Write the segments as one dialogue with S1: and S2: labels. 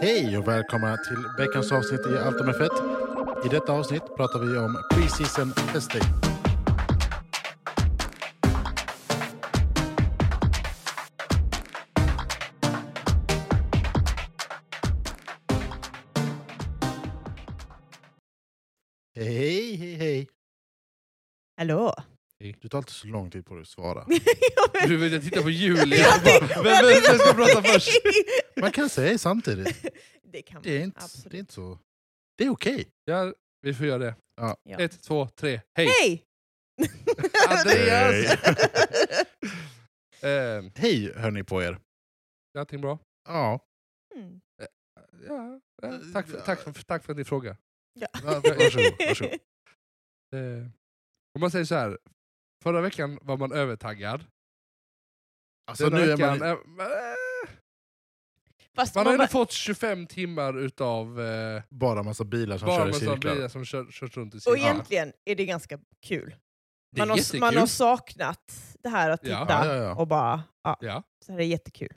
S1: Hej och välkomna till veckans avsnitt i Allt om F1. I detta avsnitt pratar vi om preseason testing. Hej, hej, hej.
S2: Hallå?
S1: Du tar alltid så lång tid på dig att svara.
S3: Du vet, jag tittar på Julia och bara, vem, vem, vem ska prata först?
S1: Man kan säga hej samtidigt.
S2: Det kan man.
S1: Det är inte, det är
S2: absolut.
S1: inte så... Det är okej.
S3: Ja, vi får göra det.
S1: Ja.
S2: Ja.
S3: Ett, två, tre, hej!
S2: Hej!
S3: Andreas! eh,
S1: Hej hörni på er.
S3: är allting bra?
S1: Ja,
S2: Mm.
S3: Ja, eh, tack, för, tack, för, tack för din fråga.
S2: Ja.
S1: va- varsågod. varsågod.
S3: Eh, om man säger så här. förra veckan var man övertaggad.
S1: Alltså,
S3: Denna
S1: nu är
S3: veckan
S1: man...
S3: är man... eh,
S2: Fast
S3: Man
S2: man
S3: har ändå
S2: bara,
S3: fått 25 timmar utav eh,
S1: Bara massa bilar som
S3: bara
S1: kör i
S3: massa
S1: cirklar.
S3: bilar som kör, kört runt i
S2: och
S3: cirklar.
S2: egentligen är det ganska kul.
S3: Det är
S2: Man har,
S3: jättekul.
S2: man har saknat det här att titta
S1: Ja,
S3: Ja,
S1: ja, ja.
S2: och bara, ja,
S3: Ja.
S2: så här är jättekul.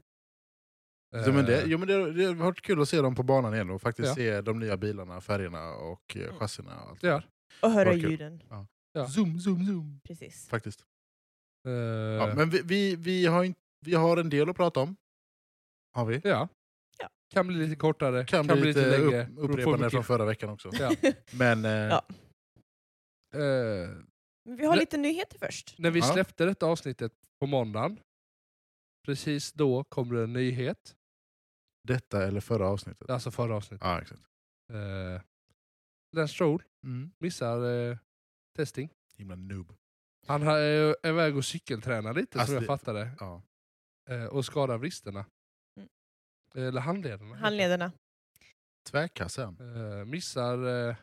S1: Jo, men, det,
S3: Eh,
S1: jo, men det, det har varit kul att se dem på banan igen och faktiskt
S3: Ja. Mm.
S1: se de nya bilarna, färgerna och eh, chassina. Och allt.
S3: Ja.
S2: Och höra
S1: Vad kul.
S2: ljuden,
S3: Ja.
S1: Zoom, zoom, zoom.
S2: precis.
S1: Faktiskt.
S3: eh,
S1: Ja, men vi, vi, vi, har inte, vi har en del att prata om. Har vi.
S3: Ja.
S2: Ja.
S3: Kan bli lite kortare,
S1: Kan, bli lite,
S3: längre.
S1: upp,
S3: beror på
S1: upprepande
S3: mycket-
S1: från förra veckan också.
S3: Ja.
S1: Men eh,
S2: Ja.
S3: Eh,
S2: Men vi har
S3: Nej.
S2: lite nyheter först.
S3: när vi
S1: Ja.
S3: släppte detta avsnittet på måndagen, precis då kom det en nyhet.
S1: detta eller förra avsnittet.
S3: Alltså förra avsnittet.
S1: Ja, exakt.
S3: Eh, Lance Stroll
S1: Mm.
S3: missar eh, testing.
S1: Himla noob.
S3: Han har- eh, är är iväg och cykeltränar lite
S1: Alltså,
S3: som
S1: det-
S3: jag fattade.
S1: Ja.
S3: Eh, och skadar vristerna.
S2: Mm.
S3: Eller handlederna.
S2: Handlederna.
S1: Tvärkassen.
S3: Eh, missar... Eh,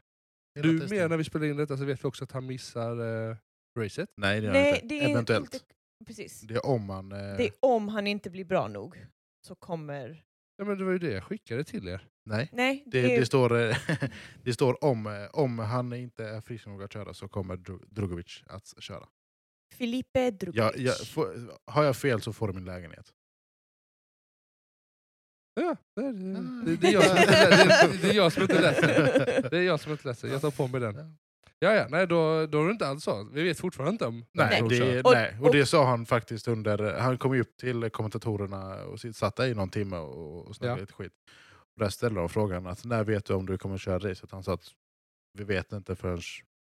S1: Hela
S3: du
S1: testen.
S3: med när vi spelar in detta så vet vi också att han missar eh, racet.
S1: Nej, det gör jag
S2: Nej,
S1: inte.
S2: det är
S1: Eventuellt.
S2: inte... Precis.
S1: Det är om man... Eh,
S2: Det är om han inte blir bra nog så kommer...
S3: Ja, men det var ju det jag skickade till er.
S1: Nej.
S2: Nej, det,
S1: Det,
S2: är...
S1: det, står, eh, det står om, eh, om han inte är frisk nog att köra så kommer Dro- Drogovic att köra.
S2: Filipe Drukovic.
S1: Jag, jag, får, har jag fel så får du min lägenhet.
S3: Ja, det, det,
S1: Ah.
S3: Mm. det, det, är jag som inte, lä- det, det är jag som inte läser. Det är jag som inte läser. Jag tar på mig den. Ja, ja, nej, då, då är det inte alls så. Vi vet fortfarande inte om
S1: Nej,
S3: om de kör.
S1: det,
S2: Och-
S1: nej. Och det sa han faktiskt under... Han kom ju upp till kommentatorerna och sitt- satt där i någon timme och, och snackade
S3: Ja.
S1: lite skit. Och där ställde de frågan att när vet du om du kommer köra racet? Han sa att vi vet inte förrän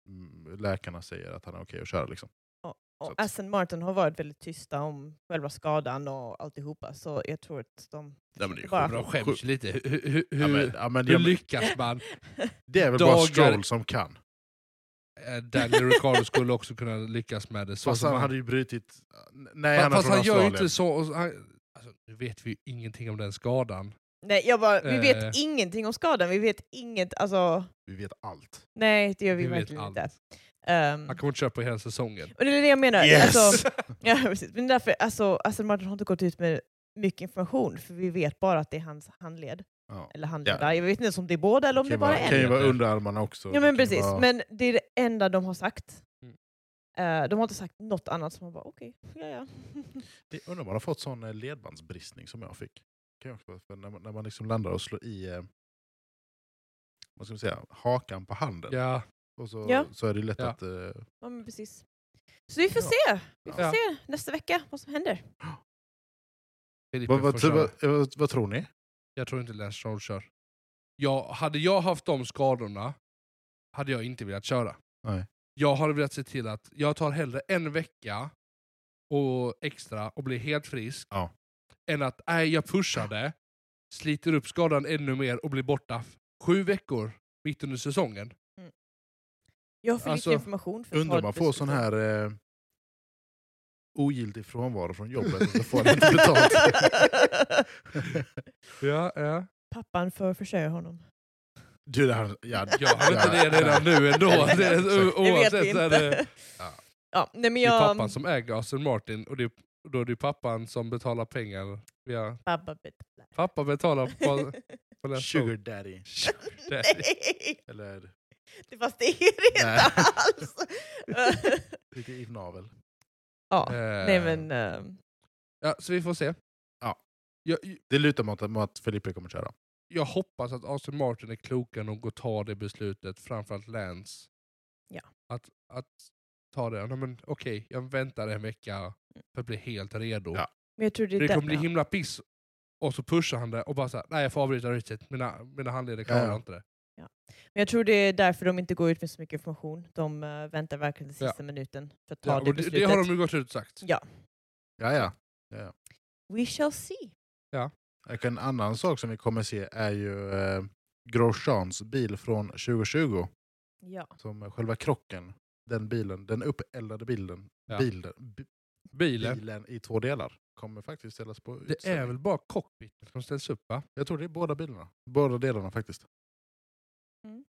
S1: mm, läkarna säger att han är okej att köra. Liksom.
S2: Och
S1: Så att-
S2: Aston Martin har varit väldigt tysta om själva skadan och alltihopa, så jag tror att de...
S1: Ja, men det är
S2: Bara-
S3: Men de skäms ju lite. Hur, hur, hur,
S1: Ah. Ja, men, ja, men,
S3: hur
S1: ja, men,
S3: lyckas man?
S1: det är väl bara
S3: dagar-
S1: Stroll som kan.
S3: Eh, Daniel Ricciardo skulle också kunna lyckas med det. Så
S1: Fast
S3: som
S1: han hade ju brutit... Nej,
S3: Fast-
S1: han är
S3: fast
S1: från
S3: han gör ju
S1: Australien.
S3: inte så. Och så- han, alltså, nu vet vi ju ingenting om den skadan.
S2: Nej, jag bara, vi vet
S3: Eh.
S2: ingenting om skadan, vi vet inget, alltså...
S1: Vi vet allt.
S2: Nej, det gör vi,
S3: Vi vet
S2: verkligen
S3: allt.
S2: inte. Ehm,
S3: Han kommer inte köra på hela säsongen.
S2: och det är det jag menar. Alltså, ja, precis. Men därför, alltså, Aston Martin har inte gått ut med mycket information, för vi vet bara att det är hans handled.
S1: Ja.
S2: Eller handledare. Jag vet inte ens om det är båda eller om
S1: kan ju
S2: det är bara
S1: vara, kan
S2: en.
S1: ju vara
S3: meter.
S1: underarmarna också.
S2: Ja, men
S1: Det kan ju
S2: precis.
S1: vara-
S2: Men det är det enda de har sagt.
S3: Mm.
S2: Eh, de har inte sagt något annat, som man bara okej, ja ja.
S1: Det är underbart att ha fått sån eh, ledbandsbristning som jag fick. Kan jag också, vara- för när, man, när man liksom landar och slår i eh, vad ska man säga, hakan på handen
S3: Ja,
S1: och så,
S2: Ja.
S1: så är det lätt
S3: Ja.
S1: att... eh,
S2: Ja, men precis. Så vi får se. Vi får
S3: Ja.
S2: se nästa vecka vad som händer.
S3: Filipe
S1: vad,
S3: får
S1: vad,
S3: köra.
S1: vad, eh, vad, vad tror ni?
S3: Jag tror inte Lance Stroll kör. Jag, hade jag haft de skadorna hade jag inte velat köra.
S1: Nej.
S3: Jag har velat se till att jag tar hellre en vecka och extra och blir helt frisk
S1: Ja.
S3: än att nej, jag pushade, sliter upp skadan ännu mer och blir borta f- sju veckor mitt under säsongen.
S2: Jag har för
S3: Alltså,
S2: lite information. För att ta
S1: Undrar om
S2: ett
S1: man får
S2: beslut.
S1: sån här eh, ogiltig frånvaro från jobbet och så får man inte betalt.
S3: Ja, ja.
S2: Pappan får försörja honom.
S1: du, det här, ja,
S3: Jag har inte det redan nu ändå. Det är, o-
S2: Det vet
S3: oavsett
S2: vi
S3: så är
S2: inte.
S3: det,
S1: Ja.
S2: Ja, nej, men
S3: det är pappan
S2: jag...
S3: som äger Aston Martin och det är, och då är det pappan som betalar pengar. Via,
S2: Pappa betalar.
S3: pappa betalar på, på den
S1: Sugar daddy.
S3: där.
S2: Nej,
S1: Eller
S2: det- fast det är det
S1: Nej.
S2: inte alls.
S1: lite inavel.
S2: Ja.
S3: Eh,
S2: Nej men, eh,
S3: ja, så vi får se.
S1: Ja.
S3: Jag,
S1: Det lutar mot att, mot att Felipe kommer köra.
S3: jag hoppas att Aston Martin är kloka nog att ta det beslutet, framförallt Lance.
S2: Ja.
S3: Att, att ta det, ja, men okej, jag väntar en vecka för att bli helt redo.
S1: Ja.
S2: men jag tror det är
S3: Det
S2: den-
S3: kommer bli
S2: ja.
S3: himla piss. Och så pushar han det och bara såhär, nej jag får avbryta racet, mina, mina handleder klarar
S1: Ja.
S3: inte det.
S2: Men jag tror det är därför de inte går ut med så mycket information. De eh, väntar verkligen till
S3: Ja.
S2: sista minuten för att ta
S3: Ja,
S2: det
S3: och det,
S2: beslutet.
S3: det har de ju gått ut och sagt.
S2: Ja.
S1: Ja, ja.
S2: We shall see.
S1: Och En annan sak som vi kommer se är ju eh, Grosjeans bil från 2020.
S2: Ja.
S1: Som själva krocken, den bilen, den uppeldade bilen,
S3: Ja.
S1: bilen, bi-
S3: Bilen,
S1: bilen i två delar kommer faktiskt ställas på
S3: det är
S1: utställning.
S3: väl bara cockpiten som ställs upp va?
S1: Jag tror det är båda bilarna. Båda delarna faktiskt.
S2: Mm.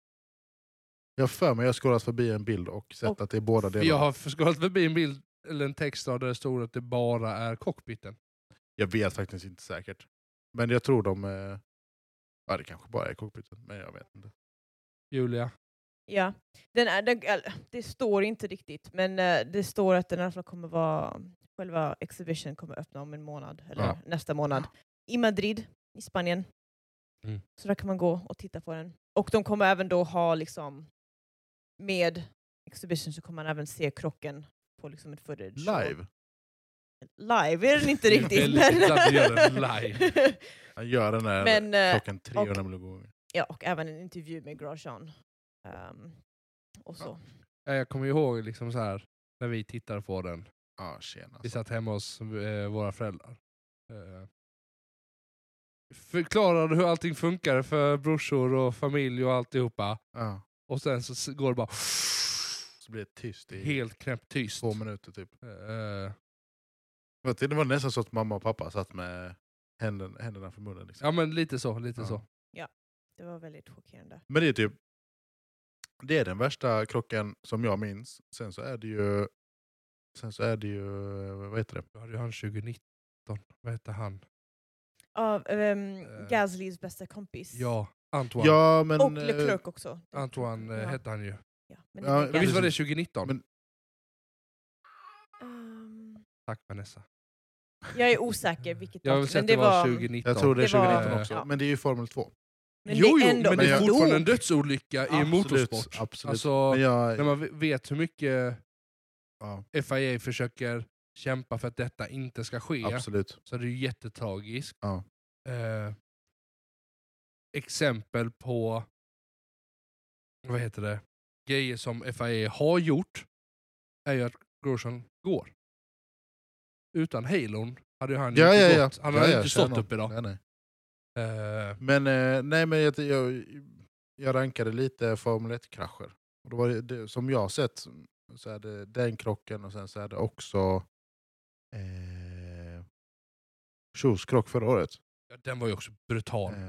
S1: Jag har för mig jag har scrollat förbi en bild och sett
S2: Och-
S1: att det är båda
S3: För Jag
S1: delarna.
S3: har förskalat förbi en bild, eller en text där det står att det bara är cockpiten.
S1: Jag vet faktiskt inte säkert. Men jag tror de... Eh... Ja, det kanske bara är cockpiten, men jag vet inte.
S3: Julia,
S2: ja. Den är, den, eller, det står inte riktigt, men eh, det står att den i alla fall kommer vara... Själva exhibition kommer öppna om en månad, eller
S1: Ja.
S2: nästa månad, i Madrid i Spanien.
S3: Mm.
S2: Så där kan man gå och titta på den. Och de kommer även då ha liksom med exhibition så kommer man även se krocken på liksom ett footage.
S1: Live!
S2: live är den inte
S3: Det är
S2: riktigt.
S3: väldigt illa att göra den live.
S1: Han gör den här
S2: Men, eh,
S1: klockan 300
S2: och-
S1: miljoner gånger.
S2: ja, och även en intervju med Grosjean. Ehm, och så.
S3: Ja, jag kommer ihåg liksom så här när vi tittade på den.
S1: Ja, tjena. alltså.
S3: Vi satt hemma hos eh, våra föräldrar. Eh, förklarade hur allting funkar för brorsor och familj och alltihopa.
S1: Ja,
S3: Och sen så s- går det bara
S1: så blir det tyst i
S3: helt knäpptyst.
S1: två minuter typ.
S3: Eh,
S1: Vet du, Det var nästan så att mamma och pappa satt med händen, händerna för munnen. Liksom.
S3: ja men lite så, lite
S1: Ja.
S3: så.
S2: Det var väldigt chockerande.
S1: Men det är typ det är den värsta krocken som jag minns. Sen så är det ju, sen så är det ju vad heter det?
S3: Då hade ju han 2019, vad hette han?
S2: Av ehm,
S3: Eh.
S2: Gaslys bästa kompis.
S3: Ja, Antoine.
S1: Ja, men,
S2: och
S1: eh,
S2: LeClerc också.
S3: Antoine eh,
S2: ja.
S3: hette han ju.
S2: Ja, men
S1: Ja,
S2: det
S3: Men
S2: var
S3: visst var
S2: Gasly.
S3: det 2019?
S1: Men-
S2: Ehm,
S3: Tack Vanessa.
S2: jag är osäker vilket
S3: Jag har väl
S2: datum,
S3: sett det var 2019.
S1: jag tror det är
S2: Det var-
S1: 2019 också,
S2: ja.
S1: men det är ju Formel 2.
S2: Men
S3: jo,
S2: det är
S3: jo,
S2: ändå
S3: men det
S1: Men
S3: är
S1: jag-
S3: fortfarande en dödsolycka i
S1: Absolut,
S3: motorsport.
S1: Absolut.
S3: Alltså,
S1: men jag,
S3: när man vet hur mycket
S1: ja,
S3: FIA försöker kämpa för att detta inte ska ske,
S1: absolut.
S3: så är det ju jättetragiskt.
S1: Ja.
S3: Eh, exempel på vad heter det? grejer som FIA har gjort är ju att Grosjean går. Utan halon hade ju han
S1: Ja,
S3: inte
S1: ja, ja.
S3: gått. Han
S1: ja,
S3: hade
S1: ja,
S3: inte
S1: tjena.
S3: stått upp idag.
S1: Nej, nej.
S3: Eh,
S1: Men, eh, nej, men jag, jag, jag rankade lite Formel 1-krascher. Och då var det, det, som jag har sett så är det den krocken och sen så är det också eh, Schus krock förra året.
S3: ja, den var ju också brutal.
S1: Eh,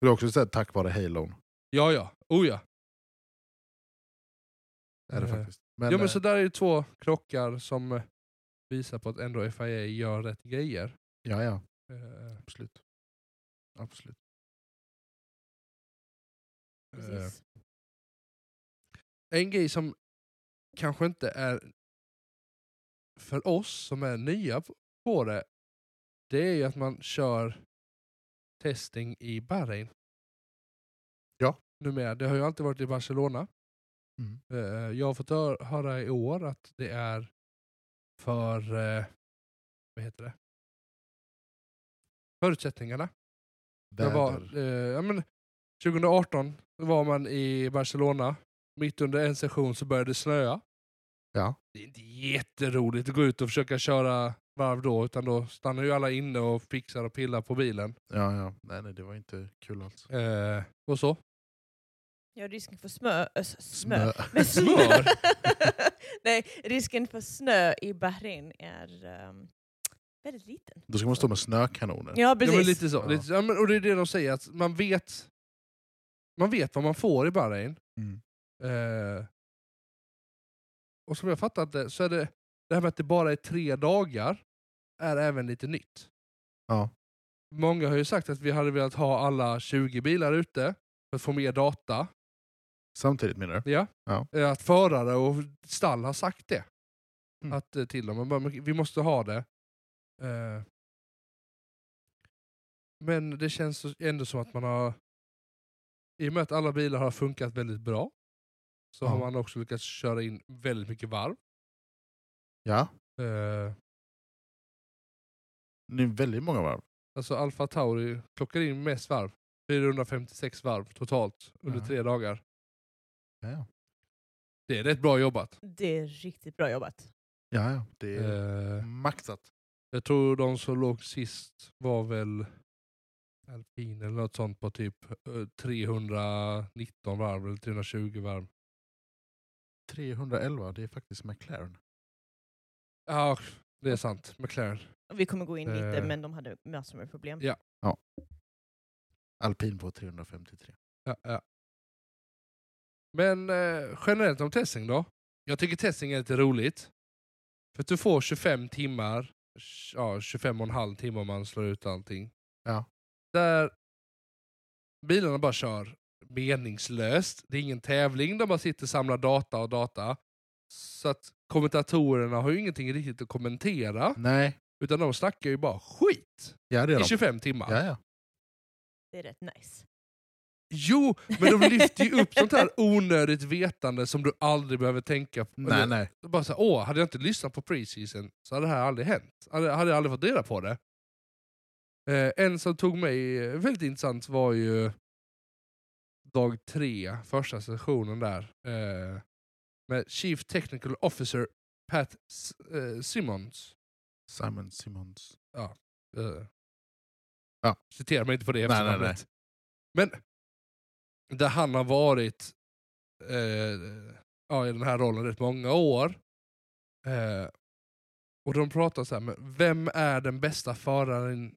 S1: det är också så här, tack vare Halon.
S3: Ja, ja. Oh ja.
S1: Är det
S3: Eh,
S1: faktiskt. Men,
S3: ja, men
S1: eh,
S3: så där är ju två krockar som eh, visar på att ändå FIA gör rätt grejer.
S1: ja, ja,
S3: Eh,
S1: absolut. absolut.
S3: eh,
S2: Precis.
S3: en grej som kanske inte är för oss som är nya p- på det, det är ju att man kör testing i Bahrain.
S1: Ja.
S3: Numera. Det har ju alltid varit i Barcelona.
S1: Mm.
S3: Eh, Jag har fått hör- höra i år att det är för, eh, vad heter det? Förutsättningarna. Jag var,
S1: Väder.
S3: eh, ja, men 2018 var man i Barcelona. Mitt under en session så började det snöa.
S1: Ja.
S3: Det är inte jätteroligt att gå ut och försöka köra varv då, utan då stannar ju alla inne och fixar och pillar på bilen.
S1: Ja, ja. Nej, nej, det var inte kul alls.
S3: Eh, och så.
S2: Ja, risken för smö... Äh, s- smö.
S1: Smö.
S2: Men
S3: Smör?
S2: Nej, risken för snö i Bahrain är ehm, väldigt liten.
S1: Då ska man stå med snökanoner.
S2: Ja,
S3: Ja,
S2: precis.
S3: men lite så.
S1: Ja.
S3: Lite, så. ja, men, och det är det de säger, att man vet, man vet vad man får i Bahrain.
S1: Mm.
S3: Eh, och som jag fattat det, så är det, det här med att det bara är tre dagar, är även lite nytt.
S1: Ja.
S3: Många har ju sagt att vi hade velat ha alla 20 bilar ute, för att få mer data.
S1: Samtidigt menar du?
S3: Ja.
S1: Ja.
S3: Eh, Att förare och stall har sagt det.
S1: Mm.
S3: att, eh, till dem. Man bara, "Men vi måste ha det. Eh, men det känns så- ändå som att man har, i och med att alla bilar har funkat väldigt bra, så har
S1: Ja.
S3: man också lyckats köra in väldigt mycket varv.
S1: Ja,
S3: Eh,
S1: det är väldigt många varv.
S3: Alltså Alfa Tauri plockar in mest varv. 456 varv totalt under
S1: Ja.
S3: tre dagar.
S1: Ja,
S3: Det är rätt bra jobbat.
S2: Det är riktigt bra jobbat.
S1: ja, ja det är
S3: Eh,
S1: maxat.
S3: jag tror de som låg sist var väl alpin eller något sånt på typ eh, 319 varv eller 320 varv.
S1: 311, det är faktiskt McLaren.
S3: Ja, det är sant. McLaren.
S2: Och Vi kommer gå in lite,
S3: Eh.
S2: men de hade massor med problem.
S3: Ja.
S1: Alpin på 353.
S3: Ja, ja. Men eh, generellt om testing då? Jag tycker testing är lite roligt. För att du får 25 timmar, tj- ja 25 och en halv timme om man slår ut allting.
S1: Ja.
S3: Där bilarna bara kör meningslöst. Det är ingen tävling, de bara sitter och samlar data och data. Så att kommentatorerna har ju ingenting riktigt att kommentera.
S1: Nej,
S3: Utan de snackar ju bara skit
S1: ja det är
S3: i
S1: de.
S3: 25 timmar.
S1: Ja, ja.
S2: Det är rätt nice.
S3: Jo, men de lyfter ju upp sånt här onödigt vetande som du aldrig behöver tänka på. Alltså,
S1: Nej, nej.
S3: Bara så här, Åh, hade jag inte lyssnat på preseason så hade det här aldrig hänt. Hade, hade jag aldrig fått reda på det. Eh, en som tog mig eh, väldigt intressant var ju dag tre, första sessionen där. Eh, med Chief Technical Officer Pat S- eh, Simmons.
S1: Simon Simons.
S3: Eh,
S1: Ja.
S3: Citera mig inte på
S1: Nej,
S3: det
S1: nej,
S3: efternamnet. Men där han har varit eh, ja, i den här rollen rätt många år. Eh, och de pratar så här, men vem är den bästa föraren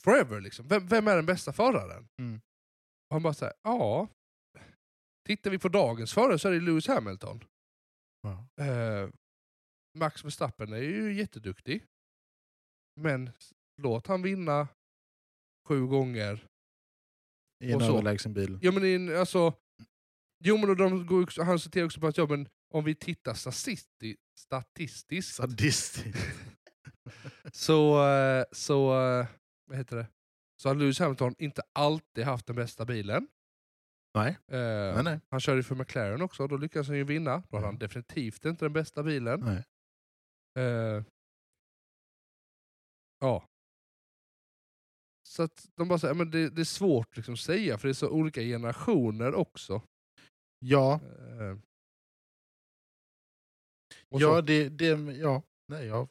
S3: forever? Liksom? Vem, vem är den bästa föraren?
S1: Mm.
S3: Och han bara säger ja. Tittar vi på dagens förare så är det Lewis Hamilton.
S1: Ja.
S3: Eh, Max Verstappen är ju jätteduktig. Men s- låt han vinna sju gånger.
S1: I en
S3: Och så.
S1: överlägsen bil.
S3: Ja, men i en, alltså, jo men och de går, också- han citerar också på att ja, men om vi tittar statisti, statistiskt
S1: Sadistiskt.
S3: så, eh, så, eh, vad heter det? så har Lewis Hamilton inte alltid haft den bästa bilen.
S1: Nej.
S3: Eh,
S1: nej, nej.
S3: Han körde ju för McLaren också, och då lyckades han ju vinna. Då hade
S1: Ja.
S3: han definitivt inte den bästa bilen.
S1: Nej.
S3: Eh, ja. Så att de bara säger, men det, det är svårt liksom att säga för det är så olika generationer också.
S1: Ja,
S3: Eh, och
S1: ja,
S3: så.
S1: det, det, ja. Nej, jag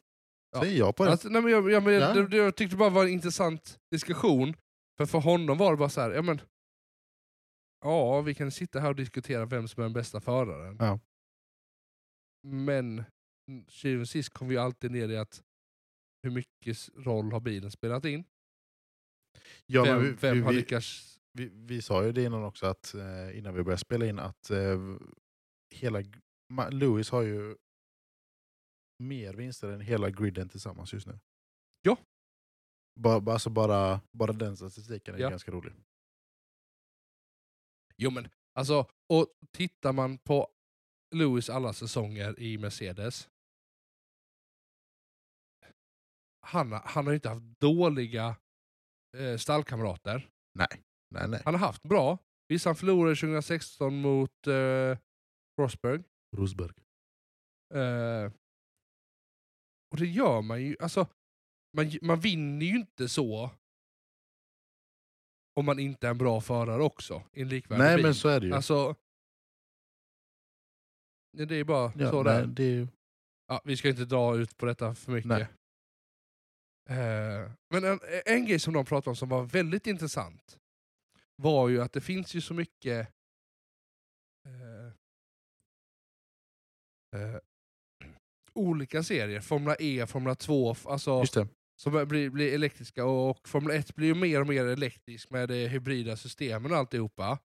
S3: Ja.
S1: säger jag på det.
S3: Alltså, nej, men jag, jag, men,
S1: Ja.
S3: det, det, jag tyckte det bara var en intressant diskussion. För för honom var det bara så här, ja men ja, vi kan sitta här och diskutera vem som är den bästa föraren.
S1: Ja.
S3: Men mm, syvende och sist kommer vi alltid ner i att hur mycket s- roll har bilen spelat in?
S1: ja, men
S3: vem
S1: vi,
S3: vem
S1: vi,
S3: har
S1: vi,
S3: lyckats...
S1: vi, vi sa ju det innan också, att, eh, innan vi började spela in, att eh, hela g- Ma- Lewis har ju mer vinster än hela griden tillsammans just nu.
S3: Ja.
S1: Bara, bara- alltså bara, bara den statistiken är
S3: Ja.
S1: ganska rolig.
S3: Jo men alltså, och tittar man på Lewis alla säsonger i Mercedes. Han, har- han har ju inte haft dåliga eh, stallkamrater.
S1: Nej, nej.
S3: Han har haft bra. Visst han förlorade 2016 mot eh, Rosberg.
S1: Rosberg.
S3: Eh, och det gör man ju. Alltså, man, man vinner ju inte så om man inte är en bra förare också. I en likvärdig
S1: Nej,
S3: bil.
S1: men så är det ju.
S3: Alltså... Nej, Det är bara
S1: ja,
S3: så
S1: nej,
S3: där.
S1: det är ju
S3: Ja, vi ska inte dra ut på detta för mycket.
S1: Nej.
S3: Eh, men en, en grej som de pratade om som var väldigt intressant var ju att det finns ju så mycket eh, eh, olika serier. Formula E, Formula 2, f- alltså,
S1: Just det.
S3: som blir, blir elektriska. Och Formel 1 blir ju mer och mer elektrisk med det hybrida systemen och alltihopa.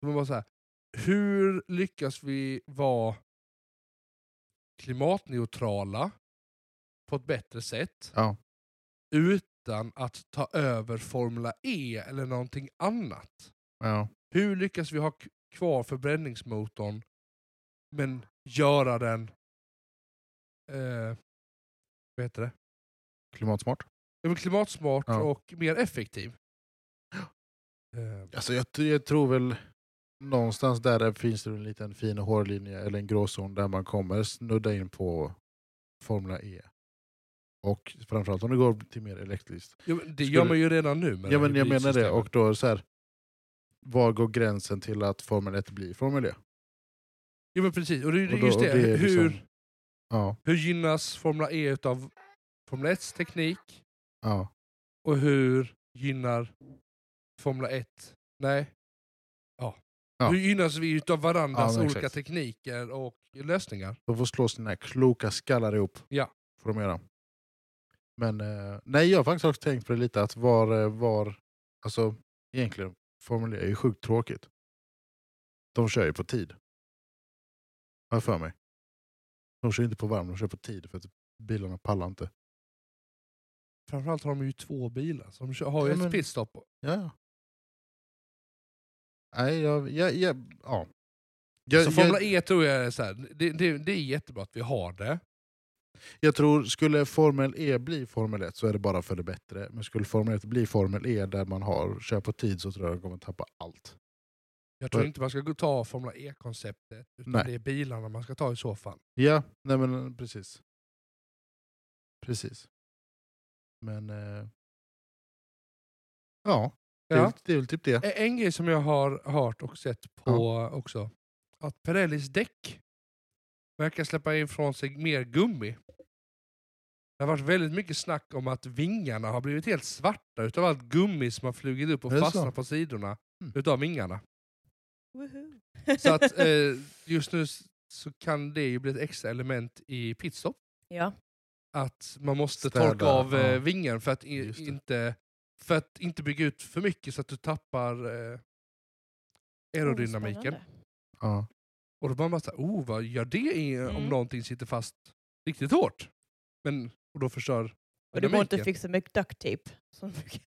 S3: Så man bara så här, hur lyckas vi vara klimatneutrala på ett bättre sätt
S1: Ja.
S3: utan att ta över Formula E eller någonting annat?
S1: Ja.
S3: Hur lyckas vi ha k- kvar förbränningsmotorn men göra den eh, vad heter det?
S1: Klimatsmart.
S3: Det var klimatsmart
S1: Ja.
S3: och mer effektiv. Eh,
S1: Alltså jag, t- jag tror väl någonstans där finns det en liten fin hårlinje eller en gråzon där man kommer snudda in på Formula E. Och framförallt om det går till mer elektriskt.
S3: ja, men det
S1: Skulle-
S3: gör man ju redan nu. med
S1: ja,
S3: det
S1: men jag menar det.
S3: hybridsystemet.
S1: Och då så här, var går gränsen till att Formel 1 blir Formel E?
S3: Ja, men precis. Och det, är
S1: Och då-
S3: just
S1: och
S3: det.
S1: är
S3: hur,
S1: liksom- ja,
S3: hur gynnas Formula E av Formel 1s teknik?
S1: ja.
S3: Och hur gynnar Formula 1? Nej. Ja.
S1: Ja.
S3: Hur gynnas vi utav
S1: Ja,
S3: varandras
S1: men
S3: olika
S1: exakt.
S3: tekniker och lösningar?
S1: De får slå sina kloka skallar ihop.
S3: Ja.
S1: Får de göra. Men eh, nej, jag har faktiskt också tänkt på det lite att var, eh, var alltså egentligen Formel E är ju sjukt tråkigt. De kör ju på tid. Har jag för mig. De kör inte på varm, de kör på tid för att bilarna pallar inte.
S3: Framförallt har de ju två bilar, så de kör- har ju
S1: Ja,
S3: ett
S1: men-
S3: pitstop.
S1: Ja, ja. Nej, jag... jag, jag ja. Jag,
S3: så Formula
S1: jag,
S3: E tror jag är så här, det, det, det är jättebra att vi har det.
S1: Jag tror, skulle Formel E bli Formel 1 så är det bara för det bättre. Men skulle Formel 1 bli Formel E där man har kör på tid så tror jag att de kommer tappa allt.
S3: Jag tror
S1: Nej.
S3: inte man ska gå- ta Formula E-konceptet, utan
S1: Nej.
S3: det är bilarna man ska ta i så fall.
S1: Ja, nej men precis. Precis. Men... Eh, ja, det, Är,
S3: Ja.
S1: väl- det är väl typ det.
S3: En- En grej som jag har hört och sett på också, att Pirellis däck verkar släppa ifrån sig mer gummi. Det har varit väldigt mycket snack om att vingarna har blivit helt svarta utav allt gummi som har flugit upp och
S1: Är det så?
S3: fastnat på sidorna
S1: Mm.
S3: utav vingarna.
S2: Woohoo.
S3: Så att eh, just nu s- så kan det ju bli ett extra element i pitstop.
S2: ja.
S3: Att man måste
S1: Städa,
S3: torka av
S1: ja.
S3: eh, vingen för att, i,
S1: Just det.
S3: inte, för att inte bygga ut för mycket så att du tappar eh, aerodynamiken.
S2: Oh, Spännande.
S1: Ja.
S3: och då bara man såhär, oh vad gör det i, om
S2: Mm.
S3: någonting sitter fast riktigt hårt? Men, och då förstör
S2: Och du behöver inte
S3: dynamiken.
S2: fixa mycket duct tape. Som du kan-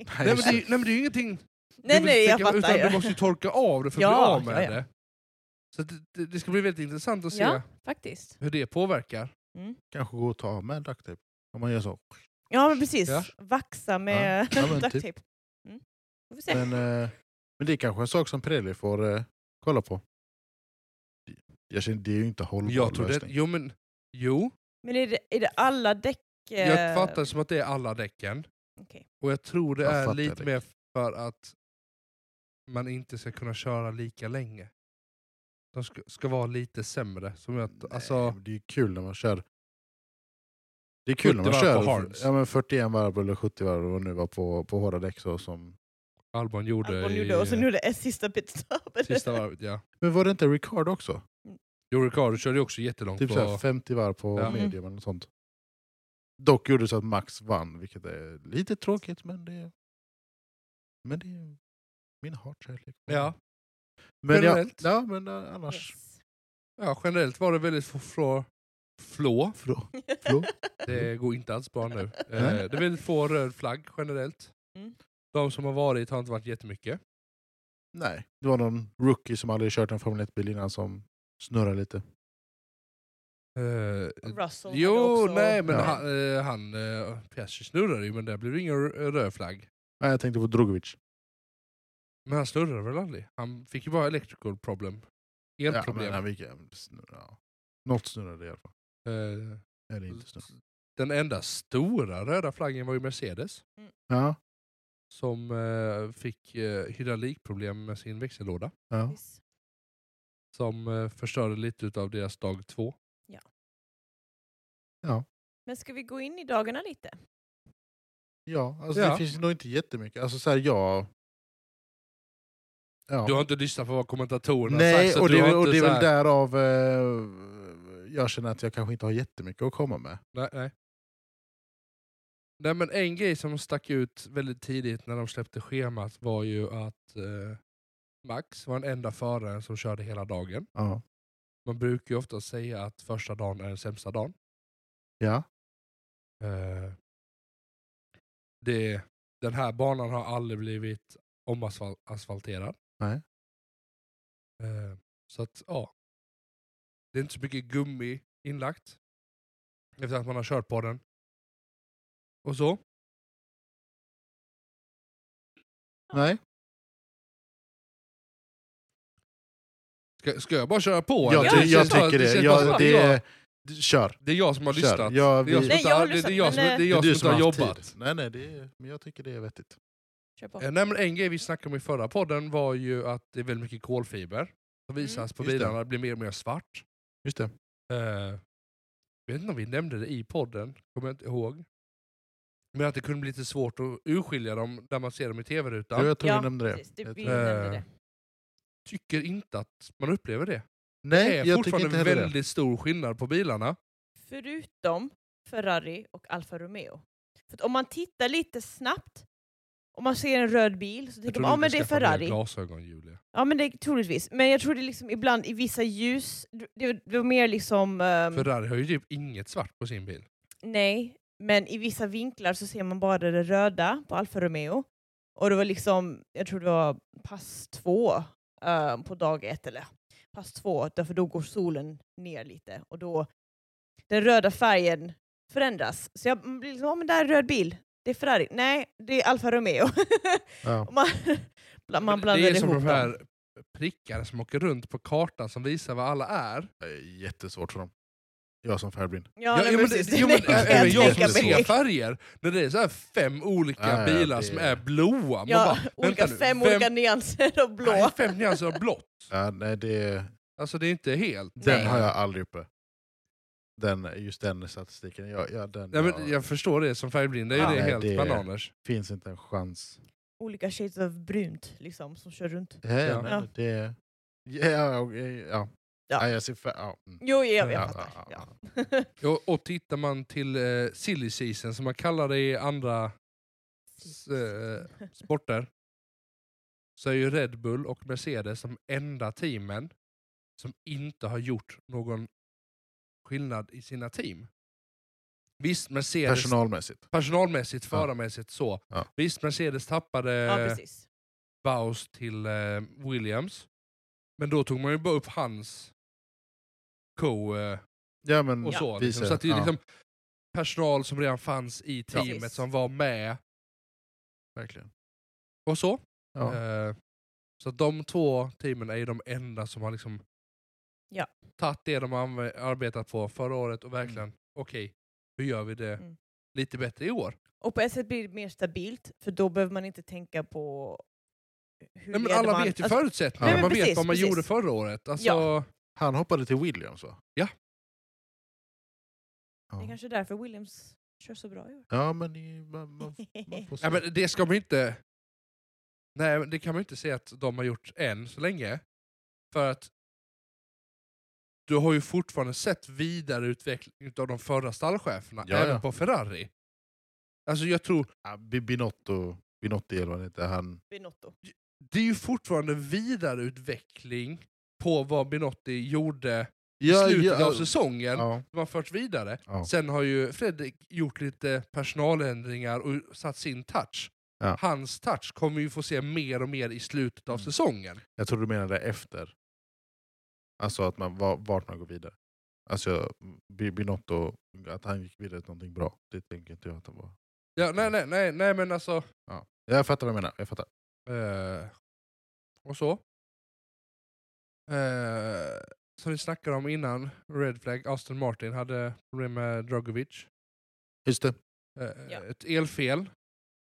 S3: Nej men, det, är ju- nej men det är ju ingenting
S2: nej,
S3: du
S2: nej, jag
S3: tänka-
S2: fattar.
S3: utan du
S2: ju.
S3: måste ju torka av det för att
S2: Ja,
S3: bli av med
S2: ja, ja.
S3: det. Så att det- det, det ska bli väldigt intressant att se
S2: Ja, faktiskt.
S3: hur det påverkar.
S1: Kanske gå och ta av med duct tape. Om man gör så.
S2: Mm. Ja, men precis.
S3: Ja.
S2: Vaxa med
S1: Ja, men
S2: duct
S1: typ.
S2: tape. Mm. Vi får se.
S1: Men, eh, men det är kanske en sak som Pirelli får eh, kolla på. Jag känner, det är ju inte hållbar
S3: Jag tror det,
S1: lösning.
S3: jo men, jo,
S2: Men är det, är det alla däck?
S3: jag
S2: eh,
S3: fattar det som att det är alla däcken.
S2: okej.
S3: Och jag tror det
S1: Jag
S3: är
S1: fattar
S3: lite
S1: det.
S3: mer för att man inte ska kunna köra lika länge. De ska, ska vara lite sämre. Som jag,
S1: Nej,
S3: alltså,
S1: men det är ju kul när man kör. Det är kul när man
S3: 70 varv
S1: kör
S3: på hards.
S1: ja, men 41 varv eller 70 varv och nu var på, på hårda däck. Så som...
S3: Albon gjorde
S2: Albon
S3: i
S2: gjorde, och sen
S3: eh,
S2: gjorde S sista pitstop.
S3: sista varvet. Ja.
S1: Men var det inte Ricardo också?
S3: Jo, Ricardo körde ju också jättelångt.
S1: Typ
S3: på,
S1: så här 50 varv på
S3: Ja.
S1: medium eller något sånt. Dock gjorde det så att Max vann, vilket är lite tråkigt men det, men det är min hatkärlek.
S3: ja,
S1: men, jag,
S3: generellt.
S1: ja, men eh, annars...
S2: Yes.
S3: ja, generellt var det väldigt få, få, flå.
S1: Frå, frå.
S3: Det går inte alls bra nu. Eh, det
S1: Nej.
S3: är väldigt få röd flagg generellt.
S2: Mm.
S3: De som har varit har inte varit jättemycket.
S1: Nej, det var någon rookie som aldrig kört en Formel 1-bil innan som snurrade lite.
S3: Eh,
S2: Russell hade
S3: jo,
S2: också...
S3: nej men
S1: Ja.
S3: han, eh, han eh, Piastri snurrade ju men där blev det ingen rö- röd flagg.
S1: Nej, jag tänkte på Drogovic.
S3: Men han snurrade väl aldrig? Han fick ju bara electrical problem.
S1: Ja,
S3: Elproblem.
S1: men han fick, snurra, ja. Något snurrade i alla fall.
S3: Eh,
S1: Eller inte snurrade.
S3: den enda stora röda flaggen var ju Mercedes.
S1: Ja,
S3: Som eh, fick eh, hydraulikproblem med sin växellåda.
S1: ja.
S2: Yes.
S3: Som eh, förstörde lite av deras dag två.
S2: Men ska vi gå in i dagarna lite?
S1: ja alltså
S3: Ja.
S1: det finns nog inte jättemycket. Alltså så här, jag... Ja.
S3: Du har inte lyssnat på vad kommentatorerna har sagt.
S1: Nej,
S3: så
S1: och
S3: du
S1: det, är
S3: har
S1: väl- och
S3: inte
S1: det är
S3: så här-
S1: väl därav eh, jag känner att jag kanske inte har jättemycket att komma med.
S3: Nej, nej. nej men en grej som stack ut väldigt tidigt när de släppte schemat var ju att eh, Max var den enda föraren som körde hela dagen.
S1: Ja.
S3: Man brukar ju ofta säga att första dagen är den sämsta dagen.
S1: Ja.
S3: Eh, det, den här banan har aldrig blivit omasfalterad.
S1: Nej.
S3: Eh, så att, ja. Det är inte så mycket gummi inlagt. Efter att man har kört på den. Och så.
S1: Nej,
S3: Ska, ska jag bara köra på?
S1: jag,
S2: Ja,
S3: eller?
S1: ty-
S3: Det
S1: jag
S3: känns bara-
S1: tycker
S3: det
S1: det.
S3: känns bara som
S1: Jag,
S3: att
S1: det
S3: jag-
S1: är, kör.
S3: Det är jag som har
S1: Kör.
S3: lyssnat.
S1: Ja,
S3: Det är jag
S1: vi-
S3: som
S2: Nej,
S3: inte
S2: jag
S3: har-
S2: har
S3: det-
S2: lyssnat,
S3: det är jag som-
S2: men, eh,
S1: Det
S3: det är
S1: är du
S3: jag som inte
S1: som har
S3: har
S1: haft
S3: jobbat.
S1: tid. Nej, nej, det är, men jag tycker det är vettigt.
S2: Kör på.
S3: Eh, Nej, men en grej vi snackade om i förra podden var ju att det är väldigt mycket kolfiber som visas på
S1: Just det.
S3: bilarna, det blir mer och mer svart.
S1: Just det.
S3: Eh, jag vet inte om vi nämnde det i podden, kommer jag inte ihåg. Men att det kunde bli lite svårt att urskilja dem när man ser dem i
S1: Jo,
S3: tv-rutan.
S1: jag tror
S2: Ja,
S1: jag nämnde det.
S2: Precis, det,
S1: Jag
S2: vi
S1: tror-
S2: nämnde
S3: Eh,
S2: det.
S3: Tycker inte att man upplever det. Det
S1: Nej,
S3: är
S1: jag tycker inte
S3: fortfarande
S1: heller
S3: väldigt
S1: det.
S3: stor skillnad på bilarna.
S2: Förutom Ferrari och Alfa Romeo. För att om man tittar lite snabbt, om man ser en röd bil så
S3: Jag
S2: tänker
S3: trodde
S2: man ja
S3: du
S2: men det är
S3: skaffade
S2: Ferrari.
S3: Glasögon, Julia.
S2: Ja men det är troligtvis. Men jag tror det är liksom ibland i vissa ljus, det, det var mer liksom... ehm,
S3: Ferrari har ju typ inget svart på sin bil.
S2: Nej, men i vissa vinklar så ser man bara det röda på Alfa Romeo. Och det var liksom, jag tror det var pass två eh, på dag ett, eller pass två, därför då går solen ner lite och då den röda färgen förändras. Så jag blir liksom, ja men där är röd bil, det är Ferrari. Nej, det är Alfa Romeo.
S1: Ja.
S2: Och man, bla- man blandar
S3: det är
S2: ihop
S3: som de
S2: dem.
S3: här prickarna som åker runt på kartan som visar vad alla är.
S1: Det är Eh, jättesvårt för dem. Jag som färgblind.
S2: Ja,
S3: Ja,
S2: nej,
S3: jo, men
S2: precis.
S3: det, jo, men,
S2: Det kan jag
S3: även jag
S2: tänka
S3: som
S2: mig.
S3: ser färger, när det är så här fem olika
S1: Ja, ja,
S3: bilar
S1: det-
S3: som är blåa. Man
S2: Ja,
S3: bara,
S2: olika
S3: vänta nu,
S2: fem
S3: vem-
S2: olika nyanser av blå.
S3: Nej, fem nyanser av blått.
S1: Ja, Äh, nej, det,
S3: Alltså det är inte helt.
S1: den
S2: Nej.
S1: har jag aldrig uppe. Den, just den statistiken. Jag, jag, den,
S3: Nej,
S1: jag-
S3: men jag förstår det, som färgblind det är ju
S2: Ja.
S3: det
S1: Nej,
S3: helt
S1: det-
S3: bananers.
S1: finns inte en chans.
S2: Olika shades av brunt liksom, som kör runt.
S1: Ja,
S3: Ja.
S1: Nej, det, ja, ja, ja, ja.
S2: Ja.
S1: Nej, jag ser fär, ja. mm.
S2: Jo, jag,
S3: Ja,
S2: jag fattar. Ja.
S3: Och, och tittar man till eh, silly season, som man kallar det i andra s- eh, sporter, så är ju Red Bull och Mercedes de enda teamen som inte har gjort någon skillnad i sina team. Visst, Mercedes
S1: Personalmässigt.
S3: personalmässigt,
S1: Ja.
S3: förarmässigt så.
S1: Ja.
S3: Visst, Mercedes tappade
S2: Ja,
S3: eh,
S2: precis.
S3: Baus till eh, Williams, men då tog man ju bara upp hans co eh,
S1: Mm. Ja, men,
S3: och så.
S1: visar-
S3: Liksom. Så att det är
S1: ja,
S3: liksom personal som redan fanns i
S1: Ja.
S3: teamet
S2: Precis.
S3: som var med
S1: verkligen.
S3: och så.
S1: Ja.
S3: Eh, så att de två teamen är ju de enda som har liksom
S2: Ja.
S3: tagit det de har anv- arbetat på förra året och verkligen, okej, hur gör vi det
S2: Mm.
S3: lite bättre i år?
S2: Och på ett sätt blir det mer stabilt, för då behöver man inte tänka på hur
S3: Nej, men
S2: leder
S3: alla
S2: man.
S3: vet ju
S2: Alltså,
S3: förutsättningarna,
S1: Nej,
S3: man
S2: men
S3: vet
S2: precis,
S3: vad man
S2: precis.
S3: gjorde förra året. Alltså,
S2: Ja.
S1: Han hoppade till Williams va?
S3: Ja.
S2: Det är
S1: Ja,
S2: kanske är därför Williams kör så bra i år.
S1: ja men i- man, man, man får se.
S3: Ja, men det ska man ju inte... Nej, men det kan man ju inte säga att de har gjort än så länge. För att du har ju fortfarande sett vidareutveckling av de förra stallcheferna,
S1: Ja,
S3: även
S1: ja.
S3: på Ferrari. Alltså jag tror,
S1: Ja, Bi- Binotto, Binotto eller vad han heter, han...
S2: Binotto.
S3: det är ju fortfarande vidareutveckling på vad Binotti gjorde i
S1: Ja,
S3: slutet
S1: ja, alltså,
S3: av säsongen.
S1: ja,
S3: De har förts vidare.
S1: ja.
S3: Sen har ju Fredrik gjort lite personaländringar och satt sin touch.
S1: Ja.
S3: Hans touch kommer vi få se mer och mer i slutet av
S1: Mm.
S3: säsongen.
S1: Jag tror du menade efter. Alltså att man, va- vart man går vidare. Alltså Bi- Binotto, att han gick vidare till någonting bra. Det tänker inte jag att han var. Mm.
S3: Ja, nej, nej, nej, nej, men alltså...
S1: Jag fattar vad du menar. Jag fattar.
S3: eh, och så. Eh, som vi snackade om innan, Red Flag, Aston Martin hade problem med Drogovic.
S1: Just det.
S3: Eh,
S2: Ja.
S3: Ett elfel.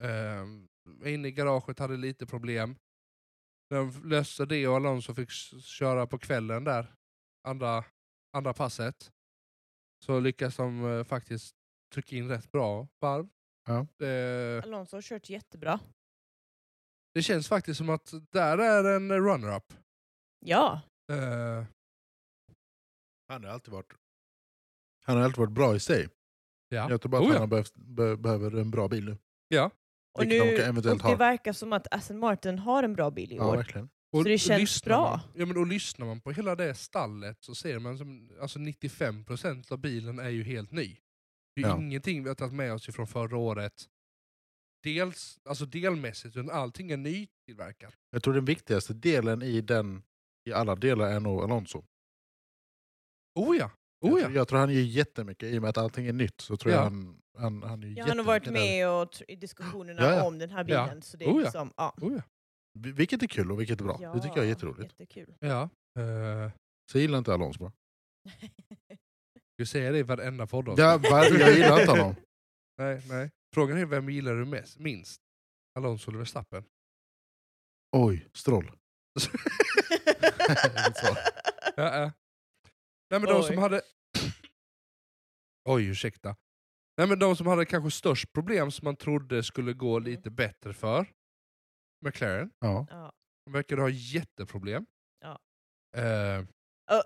S3: Eh, var inne i garaget hade lite problem. De löste det och Alonso fick s- köra på kvällen där, andra, andra passet. Så lyckas de eh, faktiskt trycka in rätt bra varv.
S1: Ja.
S3: Eh,
S2: Alonso har kört jättebra.
S3: det känns faktiskt som att där är en runner-up.
S2: Ja,
S3: Eh,
S1: Han har alltid varit, han har alltid varit bra i sig.
S3: ja.
S1: Jag tror bara att
S3: Oh,
S1: han
S3: ja.
S1: har behövt, be, behöver en bra bil nu.
S3: Ja.
S2: och,
S1: Vilket de
S2: nu,
S1: kan eventuellt
S2: och det
S1: ha.
S2: verkar som att Aston Martin har en bra bil i
S1: Ja,
S2: år.
S1: verkligen.
S2: Så det
S3: och
S2: känns
S3: lyssnar
S2: bra.
S3: Man, ja, men och lyssnar man på hela det stallet så ser man som, alltså 95% av bilen är ju helt ny. Det är
S1: Ja.
S3: ingenting vi har tagit med oss från förra året. Dels, alltså delmässigt, utan allting är nytillverkat.
S1: Jag tror den Oh, viktigaste delen i den i alla delar är nog Alonso.
S3: Oh ja! Oh,
S1: jag,
S3: ja.
S1: tror- jag tror han gör jättemycket. I och med att allting är nytt så tror
S3: Ja.
S1: jag han, han, han är
S2: Ja, han har varit
S1: jättemycket där.
S2: med och tr- i diskussionerna
S1: Ja, ja.
S2: om den här
S3: Ja.
S2: bilen. Så det är
S3: Oh, ja.
S2: liksom, ja.
S3: Oh, ja.
S1: Vi- Vilket är kul och vilket är bra. Det tycker jag är jätteroligt.
S2: Jättekul.
S3: ja. Eh,
S1: Så jag gillar inte Alonso bara.
S3: du säger det i varenda podd också.
S1: Ja, var- jag gillar inte honom.
S3: Nej, nej. Frågan är vem gillar du mest, minst? Alonso eller Verstappen?
S1: Oj, Stroll. Så.
S3: Ja, ja. Nej, men de
S2: Oj.
S3: som hade... Oj, ursäkta. Nej, men de som hade kanske störst problem som man trodde skulle gå
S2: Mm.
S3: lite bättre för. McLaren.
S1: Ja.
S2: ja.
S3: De verkade ha jätteproblem.
S2: Ja.
S3: Eh,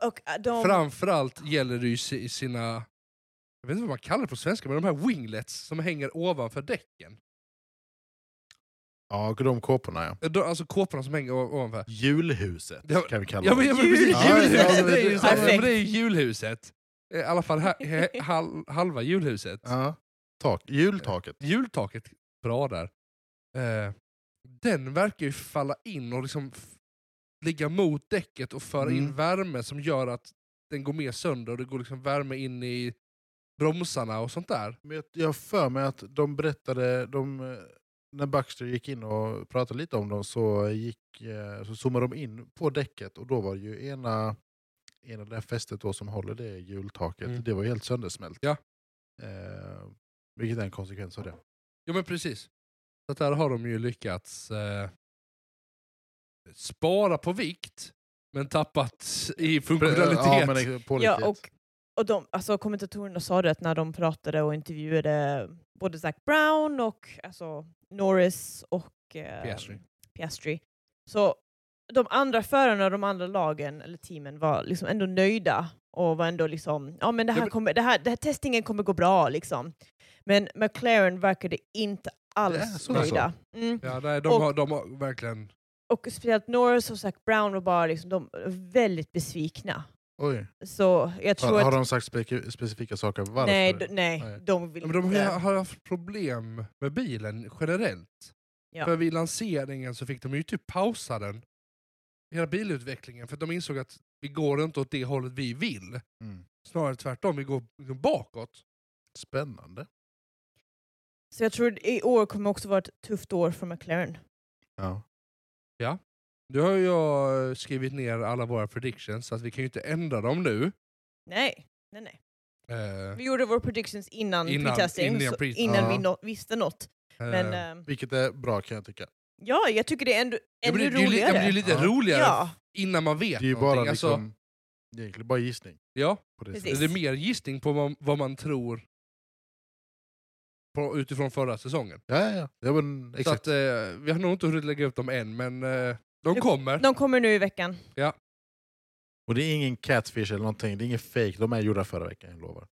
S2: Och, och äh, de,
S3: Framförallt gäller det ju si- sina... Jag vet inte vad man kallar det på svenska, men de här winglets som hänger ovanför däcken.
S1: ja, de kåporna ja.
S3: Eh, De, alltså kåporna som hänger o- ovanför.
S1: Julhuset
S3: Ja,
S1: kan vi kalla
S3: Ja men, ja, men precis,
S2: Jul-
S3: julhuset!
S1: Ja,
S3: det är ju så- ja,
S2: perfekt.
S3: men det är ju julhuset. Eh, I alla fall ha, he, hal, halva julhuset.
S1: Ja. Tak. Jultaket.
S3: Jultaket, bra där. Eh, den verkar ju falla in och liksom f- ligga mot däcket och föra in
S1: Mm.
S3: värme som gör att den går mer sönder och det går liksom värme in i bromsarna och sånt där.
S1: Men jag- jag har för mig att de berättade, de, eh, när Baxter gick in och pratade lite om dem så, gick, eh, så zoomade de in på däcket och då var det ju ena, ena det där fästet då som håller det hjultaket,
S3: Mm.
S1: det var helt söndersmält.
S3: Ja.
S1: Eh, vilket är en konsekvens av det.
S3: Jo men precis. Så att där har de ju lyckats eh, spara på vikt men tappat i funktionalitet.
S1: Eh, Ja, men det- pålitlighet.
S2: ja, och, och de, alltså, kommentatorerna sa det att när de pratade och intervjuade både Zac Brown och alltså, Norris och eh,
S3: Piastri.
S2: Piastri. Så de andra förarna och de andra lagen, eller teamen, var liksom ändå nöjda och var ändå liksom, ja men det
S3: Ja,
S2: här,
S3: men-
S2: kommer, det här, det här testningen kommer gå bra liksom. Men McLaren verkade
S1: Det
S2: inte
S1: är
S2: alls
S1: så alltså.
S2: nöjda. Mm.
S3: Ja, nej, de,
S2: Och-
S3: har, de har verkligen...
S2: Och speciellt Norris och Zac Brown var bara liksom, de var väldigt besvikna.
S1: Oj.
S2: Så jag tror
S1: Har, har
S2: att...
S1: de sagt speci- specifika saker varför?
S2: nej, d- nej,
S1: Nej.
S2: de vill
S3: Ja, men de
S2: inte.
S3: har, har haft problem med bilen generellt.
S2: Ja.
S3: För vid lanseringen så fick de ju typ pausa den. Hela bilutvecklingen. För att de insåg att vi går inte åt det hållet vi vill.
S1: Mm.
S3: Snarare tvärtom, vi går liksom bakåt.
S1: Spännande.
S2: Så jag tror i år kommer också vara ett tufft år för McLaren.
S1: Ja.
S3: Nu har jag eh, skrivit ner alla våra predictions så att vi kan ju inte ändra dem nu.
S2: Nej, nej, nej.
S3: Eh,
S2: Vi gjorde våra predictions innan,
S3: Innan-
S2: pre-testing,
S3: innan
S2: så-
S3: pre-
S2: innan vi
S1: Ja.
S2: nå- visste något. Men
S3: eh,
S2: ehm,
S1: Vilket är bra kan jag tycka.
S2: ja, jag tycker det är ändå,
S3: ja, men
S2: ändå
S3: det, det, är ju li- ja,
S2: roligare.
S3: men det är lite
S1: Ja.
S3: roligare
S2: ja,
S3: innan man vet
S1: Det är ju bara
S3: någonting. Alltså,
S1: liksom, det är egentligen bara gissning.
S3: ja.
S1: På det
S2: Precis.
S1: sättet.
S3: Det är mer gissning på vad, vad man tror på, utifrån förra säsongen.
S1: Ja, ja, ja. ja men,
S3: Så
S1: exakt.
S3: att, eh, vi har nog inte hunnit lägga upp dem än, men eh, de
S2: Nu-
S3: kommer.
S2: de kommer nu i veckan.
S1: Och det är ingen catfish eller någonting, det är ingen fake. De är gjorda förra veckan, jag lovar.